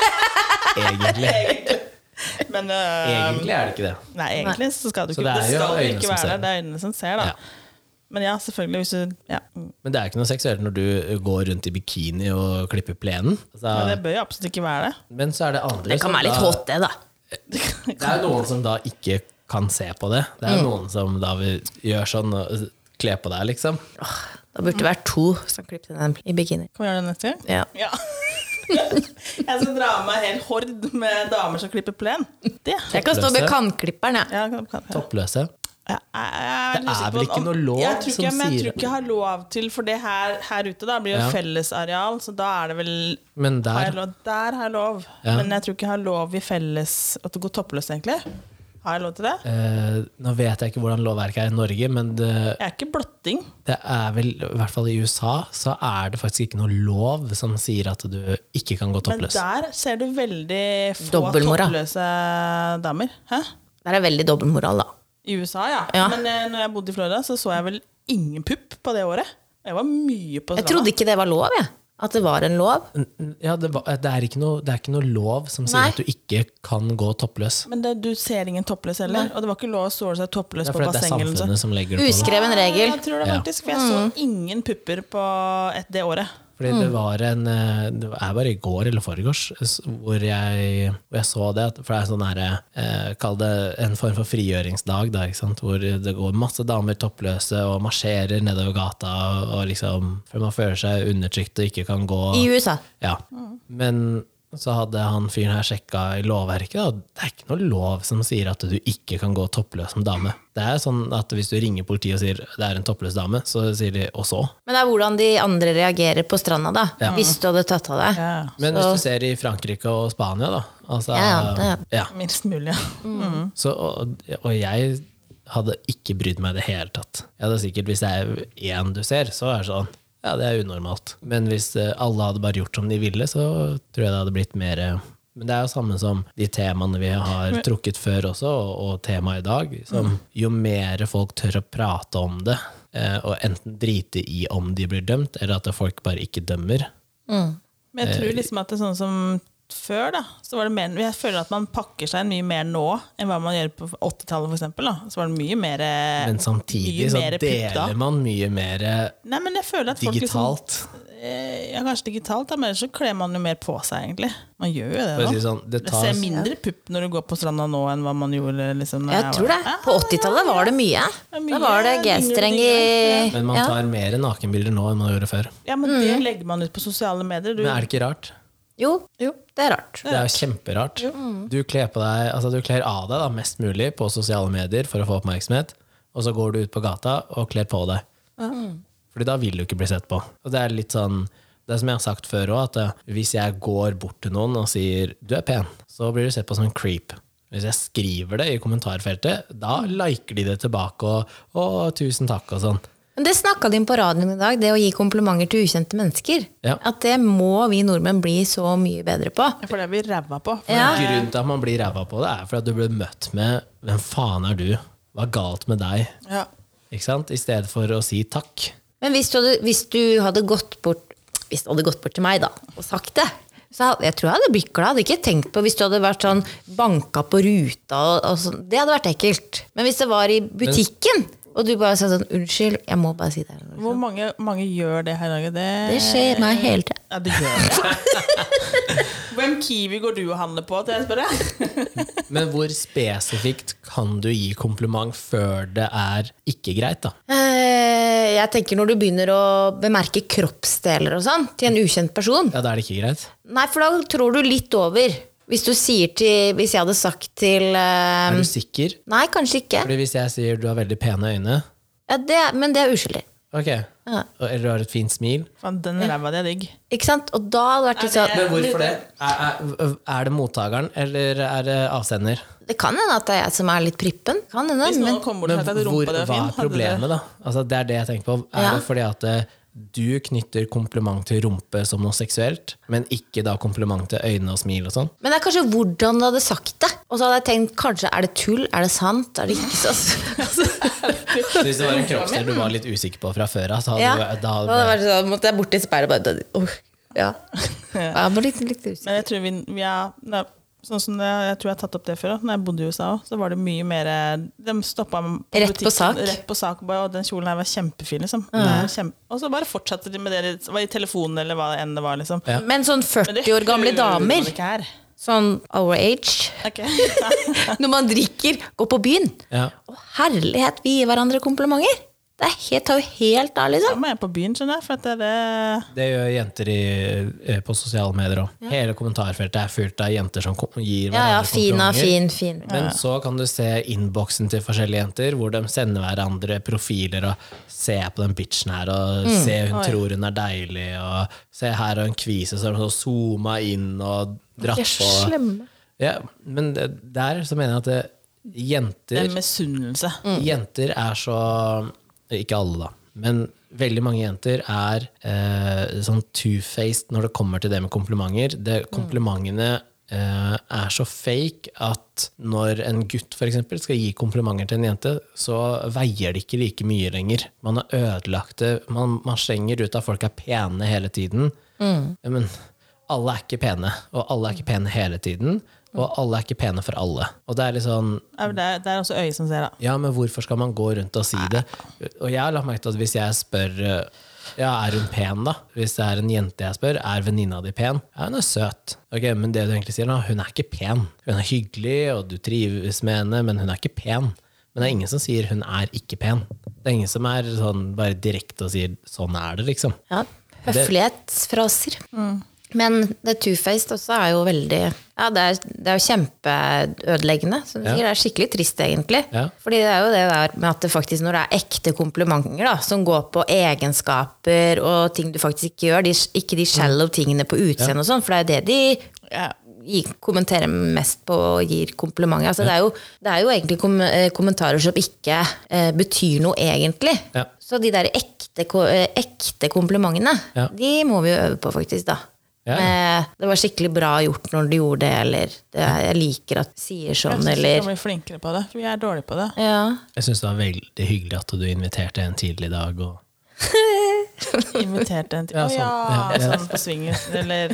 egentlig.
Men øh,
Egentlig er det ikke det.
nei, egentlig så skal du
Så
ikke
det er
Det,
jo
skal
øynene
ikke
som
være
ser.
der. Det er øynene som ser, da.
Ja.
Men ja, selvfølgelig, hvis du ja. Men
Men det er jo ikke noe seksuelt når du eh, går rundt i bikini og klipper plenen. Altså,
Det bør jo absolutt ikke være det.
men så er det andre
Det kan
som
være litt
da-
hot, det, da.
Det er jo noen som da ikke kan se på det. Det
Mm.
er jo noen som da vil gjøre sånn og kle på deg, liksom.
Da burde det vært to som klippet den i bikini.
Kan vi gjøre det neste gang?
Ja.
Ja. jeg skal dra med en hel hord med damer som klipper plen. Det.
Jeg kan stå ved kantklipperen, jeg.
Ja, kan- kan-
Toppløse.
Jeg- jeg- jeg
Det er
usikker på
vel ikke
om-
noe lov
jeg tror ikke,
som
men
sier-
Jeg tror ikke jeg har lov til, for det her, her ute da blir jo
Ja.
fellesareal, så da er det vel
Men
har jeg
der
lov, Der har jeg lov.
Ja.
Men jeg tror ikke jeg har lov i felles At det går toppløst, egentlig. Har jeg lov til det?
eh, Nå vet jeg ikke hvordan lovverket er i Norge, men det,
Jeg er ikke blotting.
det er vel, i hvert fall i USA, så er det faktisk ikke noe lov som sier at du ikke kan gå
Men
toppløs.
der ser du veldig få
Dobbeltmoral.
toppløse damer. Hæ?
Der er veldig dobbeltmoral, da.
I USA, ja.
Ja.
Men eh, når jeg bodde i Florida, så så jeg vel ingen pupp på det året. Jeg var mye på
Jeg
stranda.
trodde ikke det var lov, jeg. At det var en lov.
Ja, det, var, det, er ikke noe, det er ikke noe lov som sier
Nei.
at du ikke kan gå toppløs.
Men det, du ser ingen toppløs heller. Og det var ikke lov å ståle seg toppløs
Det er
på
fordi det er
bassenget. eller noe sånt.
samfunnet som legger det på. deg.
Uskreven regel. Mm.
Jeg tror det
Ja.
faktisk, for jeg så ingen pupper på et, det året.
Fordi det var en eh, Det er bare i går eller foregårs s- hvor jeg, hvor jeg så det. at- For det er sånn herre eh, Kall det en form for frigjøringsdag, da, ikke sant? hvor det går masse damer toppløse og marsjerer nedover gata, og, og liksom For man føler seg undertrykt og ikke kan gå.
I USA.
Ja. Men så hadde han fyren her sjekka i lovverket, og det er ikke noe lov som sier at du ikke kan gå toppløs som dame. Det er sånn at hvis du ringer politiet og sier det er en toppløs dame, så sier de og så.
Men det er hvordan de andre reagerer på stranda, da. Hvis du hadde tatt av deg.
Men hvis du ser i Frankrike og Spania, da altså,
Ja, Mm. ja,
ja.
Minst mulig. ja.
Så, og, og jeg hadde ikke brydd meg i det hele tatt. Jeg hadde sikkert, Hvis det er én du ser, så er det sånn ja, det er unormalt. Men hvis eh, alle hadde bare gjort som de ville, så tror jeg det hadde blitt mer eh, men det er jo samme som de temaene vi har trukket før også, og, og temaet i dag.
Mm.
Som, jo mer folk tør å prate om det, eh, og enten drite i om de blir dømt, eller at folk bare ikke dømmer,
Men
Eh,
jeg tror liksom at det er sånn som før, da, så var det mer Jeg føler at man pakker seg inn mye mer nå enn hva man gjør på 80-tallet, for eksempel. Da. Så var det mye mer eh,
Men samtidig
mye
så
mer pupp da.
deler man mye mer eh,
Nei, men jeg føler at folk
digitalt.
Liksom, eh, ja, kanskje digitalt, da, men ellers så kler man jo mer på seg, egentlig. Man gjør jo det
For å
nå.
si det sånn, det
Jeg ser
tas-
mindre pupp når du går på stranda nå, enn hva man gjorde liksom, når
Jeg tror det.
var-
På 80-tallet var det mye.
Ja, mye
Da var det G-streng i
dingler,
Men man
ja.
tar mer nakenbilder nå enn man gjorde før.
Ja, men det
Mm.
legger man ut på sosiale medier. Du,
Men er det ikke rart?
Jo,
Jo.
det er rart.
Det er jo kjemperart. Du kler, på deg, altså du kler av deg da, mest mulig på sosiale medier for å få oppmerksomhet, og så går du ut på gata og kler på deg. Fordi da vil du ikke bli sett på. Og det er litt sånn det er som jeg har sagt før òg, at eh, hvis jeg går bort til noen og sier 'du er pen', så blir du sett på som en creep. Hvis jeg skriver det i kommentarfeltet, da liker de det tilbake og 'å, tusen takk' og sånn.
Men det snakka de om på radioen i dag, det å gi komplimenter til ukjente mennesker.
Ja.
At det må vi nordmenn bli så mye bedre på.
For det er vi ræva på. For
Ja.
Grunnen til at man blir ræva på det, er for at du ble møtt med 'Hvem faen er du? Hva er galt med deg?'
Ja.
Ikke sant? I stedet for å si takk.
Men hvis du hadde, hvis du hadde gått bort Hvis du hadde gått bort til meg da og sagt det så hadde- jeg tror jeg hadde blitt glad. Jeg hadde ikke tenkt på Hvis du hadde vært sånn banka på ruta og, og sånn. Det hadde vært ekkelt. Men hvis det var i butikken, og du bare sa sånn 'Unnskyld, jeg må bare si det'. her».
Hvor mange, mange gjør det her i dag? Det,
Det skjer meg hele tida.
Ja, det gjør det. Hvem Kiwi går du og handler på, til jeg spør deg?
Men hvor spesifikt kan du gi kompliment før det er ikke greit, da?
Eh, Jeg tenker når du begynner å bemerke kroppsdeler og sånn til en ukjent person,
Ja, da er det ikke greit.
Nei, for da trår du litt over. Hvis du sier til Hvis jeg hadde sagt til eh,
Er du sikker?
Nei, kanskje ikke.
Fordi hvis jeg sier du har veldig pene øyne,
Ja, det, men det er uskyldig.
ok, og- eller du har et fint smil
Faen, den ræva di er digg.
Ikke sant? Og da hadde det vært litt sånn
Men hvorfor det? Er, er, er det mottageren, eller er det avsender?
Det kan hende at det er jeg som er litt prippen. Kan hende,
Hvis
men
noen kom bort
Men
og sa at
hvor,
rumpa di var
hva
fin,
er problemet, da? Altså, det er det jeg tenker på. Er
Ja.
det fordi at eh, du knytter kompliment til rumpe som noe seksuelt, men ikke da kompliment til øyne og smil og sånn?
Men det er kanskje hvordan du hadde sagt det. Og så hadde jeg tenkt kanskje er det tull? Er det sant? Er det ikke sant?
Så hvis det var en kroppsdel du var litt usikker på fra før av, så hadde
Ja.
du- da
Da
hadde
hadde det vært sånn, måtte jeg bort til speilet og bare «Åh, Ja. Jeg var litt, litt usikker.
Men jeg tror vi, vi er, nei, sånn som det, jeg tror jeg har tatt opp det før òg. Når jeg bodde i USA òg, så var det mye mer De stoppa meg
Rett på sak?
Rett på sak bare, og den kjolen her var kjempefin, liksom. Det er Kjempe, og så bare fortsatte de med det det var i telefonen eller hva enn det var, liksom.
Ja.
Men sånn
Men det
40 år gamle
hører man
damer,
ikke her.
sånn our age,
Ok. Nei.
når man drikker, går på byen
Ja.
Å, herlighet, vi gir hverandre komplimenter. Det er helt, tar jo helt av,
Da
liksom.
må jeg på byen, skjønner jeg. For at det er det
Det gjør jenter i, eh, på sosiale medier òg. Hele kommentarfeltet er fylt av jenter som kom- gir
Ja, ja,
hverandre
fin av
komplimenter.
fin, fin.
Men så kan du se innboksen til forskjellige jenter, hvor de sender hverandre profiler og 'se på den bitchen her', og
Mm.
'se hun tror hun er deilig', og 'se her har hun kvise', så har hun så zooma inn og dratt
De er så
på.
slemme.
Ja, men det- der så mener jeg at det, jenter
det er misunnelse.
Jenter er så Ikke alle, da. Men veldig mange jenter er eh, sånn two-faced når det kommer til det med komplimenter. Det, komplimentene eh, er så fake at når en gutt for eksempel, skal gi komplimenter til en jente, så veier det ikke like mye lenger. Man har ødelagt det. Man, man slenger ut at folk er pene hele tiden. Men alle er ikke pene, og alle er ikke pene hele tiden. Og alle er ikke pene for alle. Og det er litt sånn
Ja, men Det er, det er også øyet som ser, da.
ja, men hvorfor skal man gå rundt og si det? Og jeg har lagt merke til at hvis jeg spør eh, ja, er hun pen, da? Hvis det er en jente jeg spør, er venninna di pen? Ja, hun er søt. Ok, Men det du egentlig sier, da, hun er ikke pen. Hun er hyggelig, og du trives med henne, men hun er ikke pen. Men det er ingen som sier hun er ikke pen. Det er ingen som er sånn bare direkte og sier sånn er det, liksom.
Ja, høflighetsfraser. Men det two-faced også er jo veldig Ja, det er, det er jo kjempeødeleggende. Som du
Ja.
sier, det er skikkelig trist, egentlig.
Ja.
Fordi det er jo det der med at det faktisk når det er ekte komplimenter, da, som går på egenskaper og ting du faktisk ikke gjør, de, ikke de
Mm.
shallow tingene på utseendet og sånn, for det er jo det de
Ja.
gir, kommenterer mest på og gir komplimenter. Altså, det, er jo, det er jo egentlig kom, eh, kommentarer som ikke eh, betyr noe egentlig.
Ja.
Så de der ekte, ko- eh, ekte komplimentene,
Ja.
de må vi jo øve på faktisk da.
Ja.
Eh, Det var skikkelig bra gjort når du gjorde det, eller det, jeg liker at du sier sånn,
Jeg synes vi skal
eller
bli flinkere på det, for vi er dårlige på det.
ja.
Jeg syns det var veldig hyggelig at du inviterte en tidlig i dag. Og
Inviterte en til
Ja,
Å
sånn.
ja!
Ja, ja.
Sånn på swingers, eller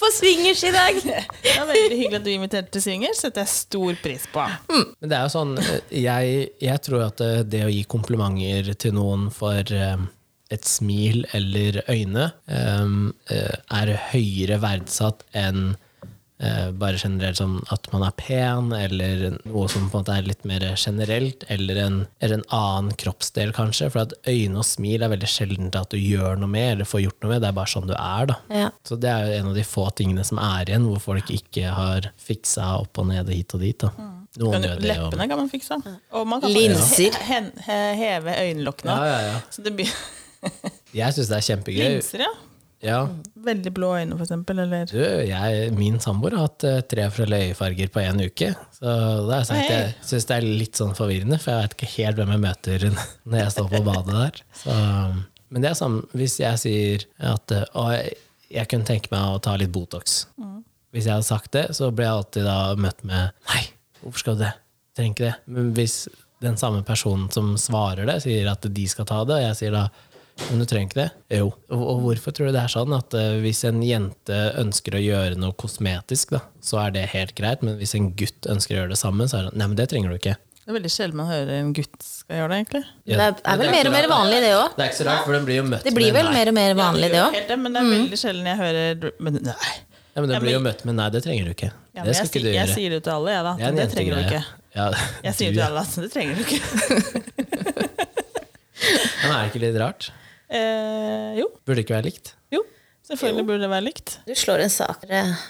Få swingers i dag!
Det var veldig hyggelig at du inviterte til swingers, setter jeg stor pris på.
Men det er jo sånn, jeg, jeg tror at det- det å gi komplimenter til noen for eh, et smil eller øyne, eh, eh, er høyere verdsatt enn eh, bare generelt sånn at man er pen, eller noe som på en måte er litt mer generelt, eller en, eller en annen kroppsdel kanskje, for at øyne og smil er veldig sjelden at du gjør noe med, eller får gjort noe med, det er bare sånn du er da.
Ja.
Så det er jo en av de få tingene som er igjen, hvor folk ikke har fiksa opp og ned og hit og dit. Da. Noen gjør det jo.
Leppene kan man fikse. Og man kan
Linser.
he- hen- he- heve øyenlokkene.
Ja, ja, ja.
Så det blir
Jeg syns det er kjempegøy.
linser, ja.
Ja.
Veldig blå øyne, for eksempel. Eller
Du, jeg, min samboer har hatt eh, tre forskjellige øyefarger på én uke. Så det er sagt, jeg
Hei.
syns det er litt sånn forvirrende, for jeg vet ikke helt hvem jeg møter når jeg står på badet der. Så, men det er samme hvis jeg sier at eh, å, jeg, jeg kunne tenke meg å ta litt Botox. Hvis jeg hadde sagt det, så ble jeg alltid da møtt med nei, hvorfor skal du det? Trenger ikke det. Men hvis den samme personen som svarer det, sier at de skal ta det, og jeg sier da men du trenger ikke det? Jo. Og, og hvorfor tror du det er sånn at eh, hvis en jente ønsker å gjøre noe kosmetisk, da, så er det helt greit, men hvis en gutt ønsker å gjøre det samme, så er det sånn, nei, men det trenger du ikke.
Det er veldig sjelden man hører en gutt skal gjøre det, egentlig.
Ja,
Det er- er vel
ikke
mer og mer
rart.
vanlig det også.
Det er ikke så rart, for den blir jo møtt
Det blir
med
vel
nei.
mer og mer vanlig det Mm. òg.
Helt det, men det er veldig sjelden jeg hører Men nei.
Ja, men den
Ja,
blir jo
men-
møtt med nei, det trenger du ikke.
Ja, men
det
jeg,
skal ikke
si-
du
jeg
gjøre.
sier det til alle, jeg, da.
er en
Det, trenger du
jentegreie.
ikke.
Ja,
Jeg sier
du-
det til alle at det trenger du ikke.
Men er det ikke litt rart?
Eh, jo.
Burde det ikke være likt?
Jo. Selvfølgelig burde det være likt.
Du slår en sak.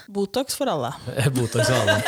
Botox for alle.
Botox og alle.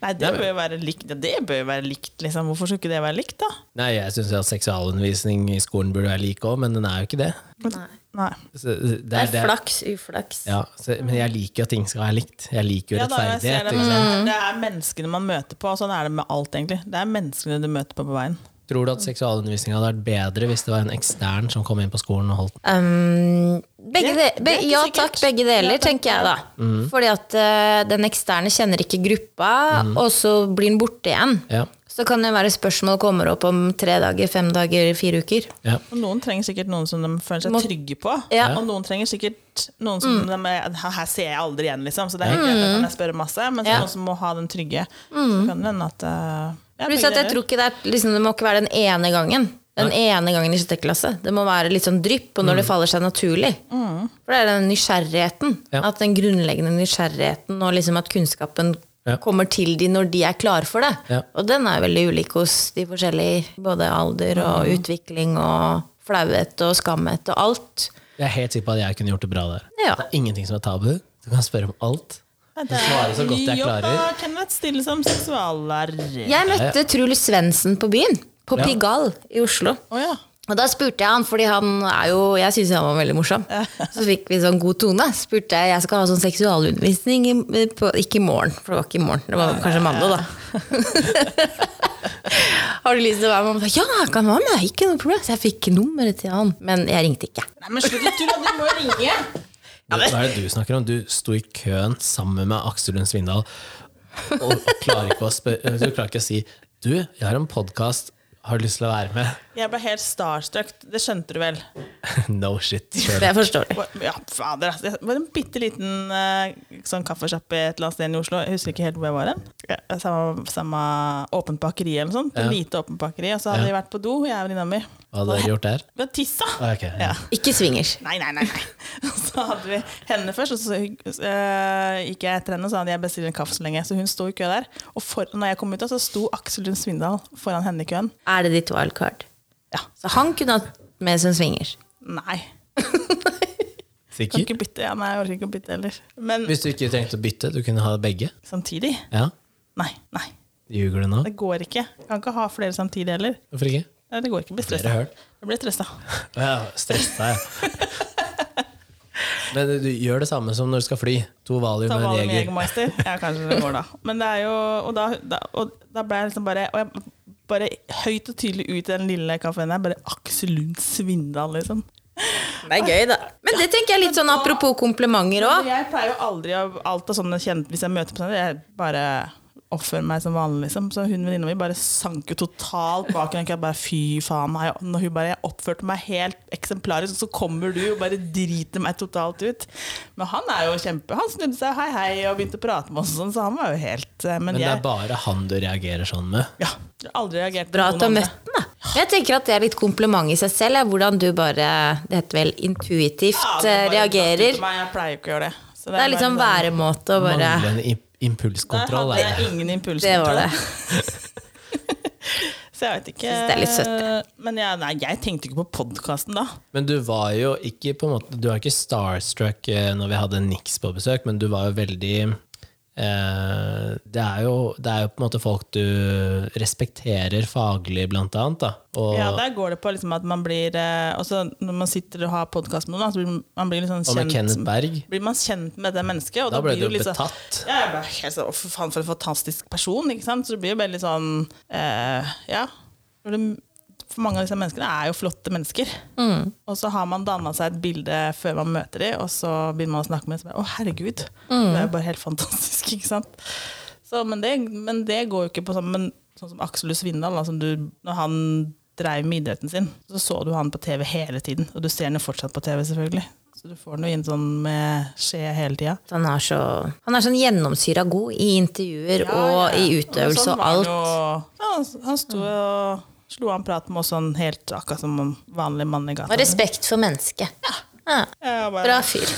Nei, det bør jo være likt. Ja, Det bør jo være likt, liksom. Hvorfor skulle ikke det være likt, da?
Nei, jeg syns at seksualundervisning i skolen burde være like òg, men den er jo ikke det.
Nei.
Så det
Det
er
er
det-
flaks, uflaks.
Ja, så, men jeg liker jo at ting skal være likt. Jeg liker jo
Ja, da, jeg ser
rettferdighet. liksom. ikke
det,
sant?
men det er menneskene man møter på, og sånn er det med alt, egentlig. Det er menneskene du møter på på veien.
Tror du at seksualundervisning hadde vært bedre hvis det var en ekstern som kom inn på skolen og holdt den?
Um, begge
Det-
de,
det
be,
er ikke
ja
sikkert.
takk, begge deler, tenker jeg da.
Mm.
Fordi at eh, den eksterne kjenner ikke gruppa,
Mm.
og så blir den borte igjen.
Ja,
Så kan det være spørsmål kommer opp om tre dager, fem dager, fire uker.
ja.
Og noen trenger sikkert noen som de føler seg
Må-
trygge på.
Ja. Mm.
Og noen trenger sikkert noen som de er, "Her- Her ser jeg aldri igjen, liksom. Så det er helt greit at jeg spør masse, men så
Ja.
noen som må ha den trygge. Så kan det hende at eh, ja,
Pluss
begge
at jeg
deler.
tror ikke det, er, liksom, det må ikke være den ene gangen. Den ene gangen i sjette klasse. Det må være litt sånn drypp, og når
Mm.
det faller seg naturlig. For det er den nysgjerrigheten.
Ja.
At den grunnleggende nysgjerrigheten, og liksom at kunnskapen
Ja.
kommer til de når de er klare for det.
Ja.
Og den er veldig ulik hos de forskjellige. Både alder og
Mm.
utvikling og flauhet og skamhet og alt.
Jeg er helt sikker på at jeg kunne gjort det bra der.
Ja.
Det er ingenting som er tabu. Du kan spørre om alt.
Ja, det
Jeg svarer så
er
godt jeg
mye jobb,
klarer.
da, Kenneth. Stille som seksuallærer. Å
Jeg møtte Truls Svendsen på byen. På
Ja.
Pigalle i Oslo.
ja.
Og da spurte jeg han, fordi han er jo, jeg synes han var veldig morsom. Så fikk vi sånn god tone. Spurte jeg, jeg skal ha sånn seksualundervisning, i, på, ikke i morgen, for det var ikke i morgen, det var kanskje mandag da. Har du lyst til å være med? Han sa, Ja, jeg kan være med, ikke noe problem. Så jeg fikk nummeret til han, men jeg ringte ikke.
Nei, men slutt å tulle, du må jo ringe!
Hva er det du snakker om? Du sto i køen sammen med Aksel Lund Svindal og, og klarer ikke å spør- du klarer ikke å si Du, jeg har en podkast, har du lyst til å være med?
Jeg ble helt starstruck. Det skjønte du vel?
No shit. Sure.
Det er forståelig.
Ja, fader, altså. Det var en bitte liten sånn kaffesjappe et eller annet sted i Oslo. Jeg husker ikke helt hvor jeg var hen. Ja, Samme, samme åpent bakeri eller noe sånt. Et Lite åpent bakeri. Og så hadde vi vært på do, jeg og venninna mi.
Hva hadde dere gjort der?
Vi hadde tissa!
Ah, ok.
Ja.
Ikke swingers.
Nei, nei, nei. nei. Så hadde vi henne først, og så eh, gikk jeg etter henne og sa at jeg bestiller en kaffe så lenge. Så hun sto i kø der. Og for, når jeg kom ut, da, så sto Aksel Lund Svindal foran henne i køen.
Er det ditt wildcard?
Ja.
Så han kunne hatt med som swingers.
Nei. Kan
Sikker?
ikke bytte. Ja, nei, jeg orker ikke å bytte heller. Men
Hvis du ikke trengte å bytte, du kunne ha begge?
samtidig?
Ja?
Nei. nei.
Ljuger du nå?
Det går ikke. Kan ikke ha flere samtidig heller.
Hvorfor ikke?
Nei, det går ikke. Blir stressa.
Flere høl.
Jeg blir stressa.
Ja, stressa, ja. Men du gjør det samme som når du skal fly. To valium
Ta
og en
valget med
jeger.
Jegermeister. Ja, kanskje det går, da. Men det er jo Og da, da, og da ble jeg liksom bare Og jeg bare høyt og tydelig ut i den lille kafeen der. Bare Aksel Lund Svindal, liksom.
Det er gøy, da. Men det tenker jeg litt sånn apropos komplimenter òg.
Jeg pleier jo aldri å alt av sånne kjente Hvis jeg møter på sånne, jeg bare oppfører meg som vanlig, liksom. Så hun venninna mi bare sank jo totalt bak henne. Jeg bare fy faen meg. Og Når hun bare jeg oppførte meg helt eksemplarisk, og så kommer du og bare driter meg totalt ut. Men han er jo kjempe Han snudde seg hei hei og begynte å prate med oss og sånn, så han var jo helt eh, Men,
Men det er
jeg
bare han du reagerer sånn med.
ja, jeg har aldri reagert
Bra
på
at du har
noen andre.
møtt den, da. Men Jeg tenker at det er litt kompliment i seg selv. Er hvordan du bare, det heter vel
Ja,
intuitivt,
det
eh,
bare datt ut
reagerer.
av meg, Jeg pleier jo ikke å gjøre det. Så
Det er
bare
litt sånn
sånn-
væremåte å bare
Manglende imp-
Der
impulskontroll.
hadde
er det.
jeg ingen impulser.
Det var det.
Så jeg vet ikke.
Synes det er litt søtt,
Men jeg, nei, jeg tenkte ikke på podkasten da.
Men du var jo ikke på en måte Du var ikke starstruck eh, når vi hadde Nix på besøk, men du var jo veldig eh, det, er jo, det er jo på en måte folk du respekterer faglig, blant annet. Da. Og,
Ja, der går det på liksom at man blir eh, også Når man sitter og har podkast med noen, da, så blir man blir litt sånn
og med Kenneth
kjent
Berg.
blir man kjent med det mennesket. Og
Da ble
blir
du
litt sånn-
betatt.
Ja, jeg ble helt sånn, å for faen, for en fantastisk person, ikke sant? Så det blir jo veldig sånn, eh, ja, for det, for mange av disse menneskene er jo flotte mennesker. Og så har man dannet seg et bilde før man møter dem, og så begynner man å snakke med dem, og så bare, å herregud, det er jo bare helt fantastisk, ikke sant? Så, men, det, men det går jo ikke på sånn, men sånn som Aksel Lund Svindal, da, som du, når han drev med idretten sin, så så du han på TV hele tiden, og du ser han jo fortsatt på TV selvfølgelig. Så du får den jo inn sånn med skje hele tida.
han er, så, han er sånn gjennomsyra god i intervjuer
Ja,
og
ja, ja.
i utøvelse
sånn
og
var han
alt. Mm.
jo- Ja, altså, han- han sto og slo an prat med oss sånn helt akkurat som en vanlig mann i gata.
Og respekt for mennesket. Ja.
Ja, bare,
Bra fyr.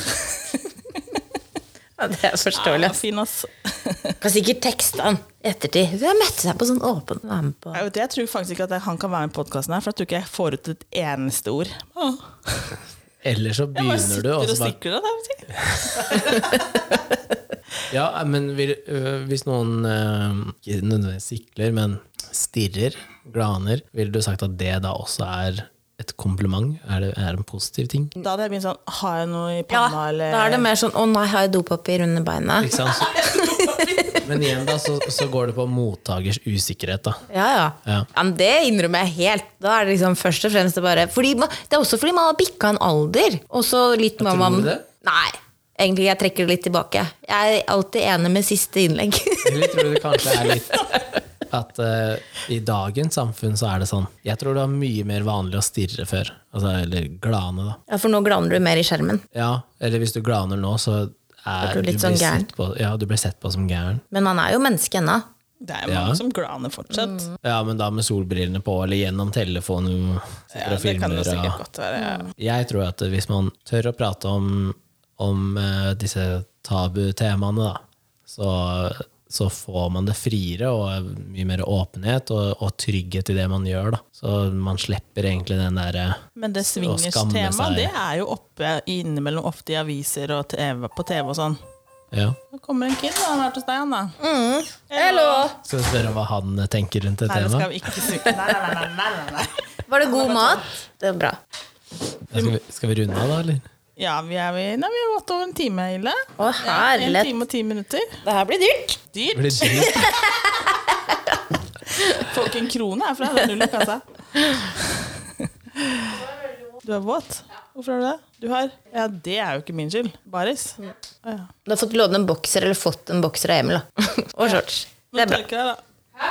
Ja, det er forståelig.
ja, fin, ass.
Kan sikkert tekste han i ettertid. Jeg møtte deg på sånn åpen være med på
Jeg, vet, jeg tror faktisk ikke at jeg- han kan være med i podkasten her, for jeg tror ikke jeg får ut et eneste ord. Åh.
Eller så
Jeg bare
begynner
sitter
du,
og
og så bare
sikler det. der.
Ja, men vil, øh, hvis noen øh, ikke nødvendigvis sikler, men stirrer, glaner, ville du sagt at det da også er et kompliment? Er det er det en positiv ting?
Da hadde jeg begynt sånn Har jeg noe i
Ja,
panna, eller
da er det mer sånn 'Å nei, har jeg dopapir under beina?'
Ikke sant? Så- Men igjen da, så, så går det på mottakers usikkerhet, da.
Ja, ja. ja.
Ja.
men det innrømmer jeg helt. Da er det liksom først og fremst det bare fordi man, Det er også fordi man har bikka en alder. Og så litt
Ja,
man-
tror du
man-
det?
Nei. Egentlig, jeg trekker det litt tilbake. Jeg er alltid enig med siste innlegg.
Eller tror du det kanskje er litt at øh, i dagens samfunn så er det sånn Jeg tror det var mye mer vanlig å stirre før. Altså, eller glane, da.
ja, For nå glaner du mer i skjermen.
Ja, eller hvis du glaner nå, så er
Er du litt
blir
sånn gæren?
sett på, ja, du blir sett på som gæren.
Men man er jo menneske ennå.
Det er
Ja.
mange som glaner fortsatt.
Mm.
Ja, men da med solbrillene på, eller gjennom telefonen.
Ja,
Sitter og
det kan
filmer.
det sikkert
Og...
godt være. Ja.
Mm.
Jeg tror at hvis man tør å prate om, om eh, disse tabutemaene, da, så, så får man det friere og mye mer åpenhet og, og trygghet i det man gjør. Da. Så man slipper egentlig den eh, derre
Men det
å skamme
swingers-temaet,
seg.
det er jo oppe innimellom ofte i aviser og TV, på TV og sånn.
ja.
Nå kommer en kid, da. Han har vært hos deg, han, da.
Skal vi spørre hva han tenker rundt det
Nei, det skal
temaet?
vi ikke si. Nei, nei, nei, nei, nei, nei.
Var det god mat? Det var bra.
Ja, Skal vi, skal vi runde av, da, eller?
Ja, vi er, vi, nei, vi er gått over en time, Hilde.
Å,
En
herlighet.
time og ti minutter.
Det her blir dyrt.
Dyrt.
Blir det dyrt?
Får ikke en krone herfra. Det er null i kassa. Du er våt? Hvorfor har du det? Du har? Ja, det er jo ikke min skyld. Baris. Å ja.
Du har fått låne en bokser, eller fått en bokser av Emil, da. og shorts. Det
Nå
er bra.
tørker jeg, da.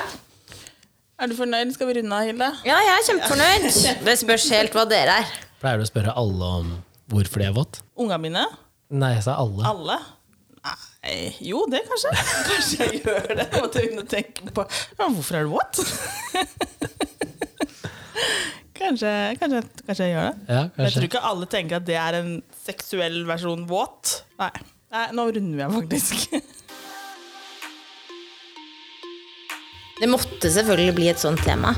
Er du fornøyd? Skal vi runde av, Hilde?
Ja, jeg er kjempefornøyd. Det spørs helt hva dere er.
Pleier du å spørre alle om hvorfor de er våt?
Unga mine?
Nei, jeg sa alle.
Alle? Nei Jo, det kanskje. Kanskje jeg gjør det. Jeg måtte begynne å tenke på ja, Hvorfor er du what? kanskje, kanskje, kanskje jeg gjør det.
Ja,
Jeg tror
kanskje.
ikke alle tenker at det er en seksuell versjon våt. Nei. Nei, nå runder vi av, faktisk.
Det måtte selvfølgelig bli et sånt tema.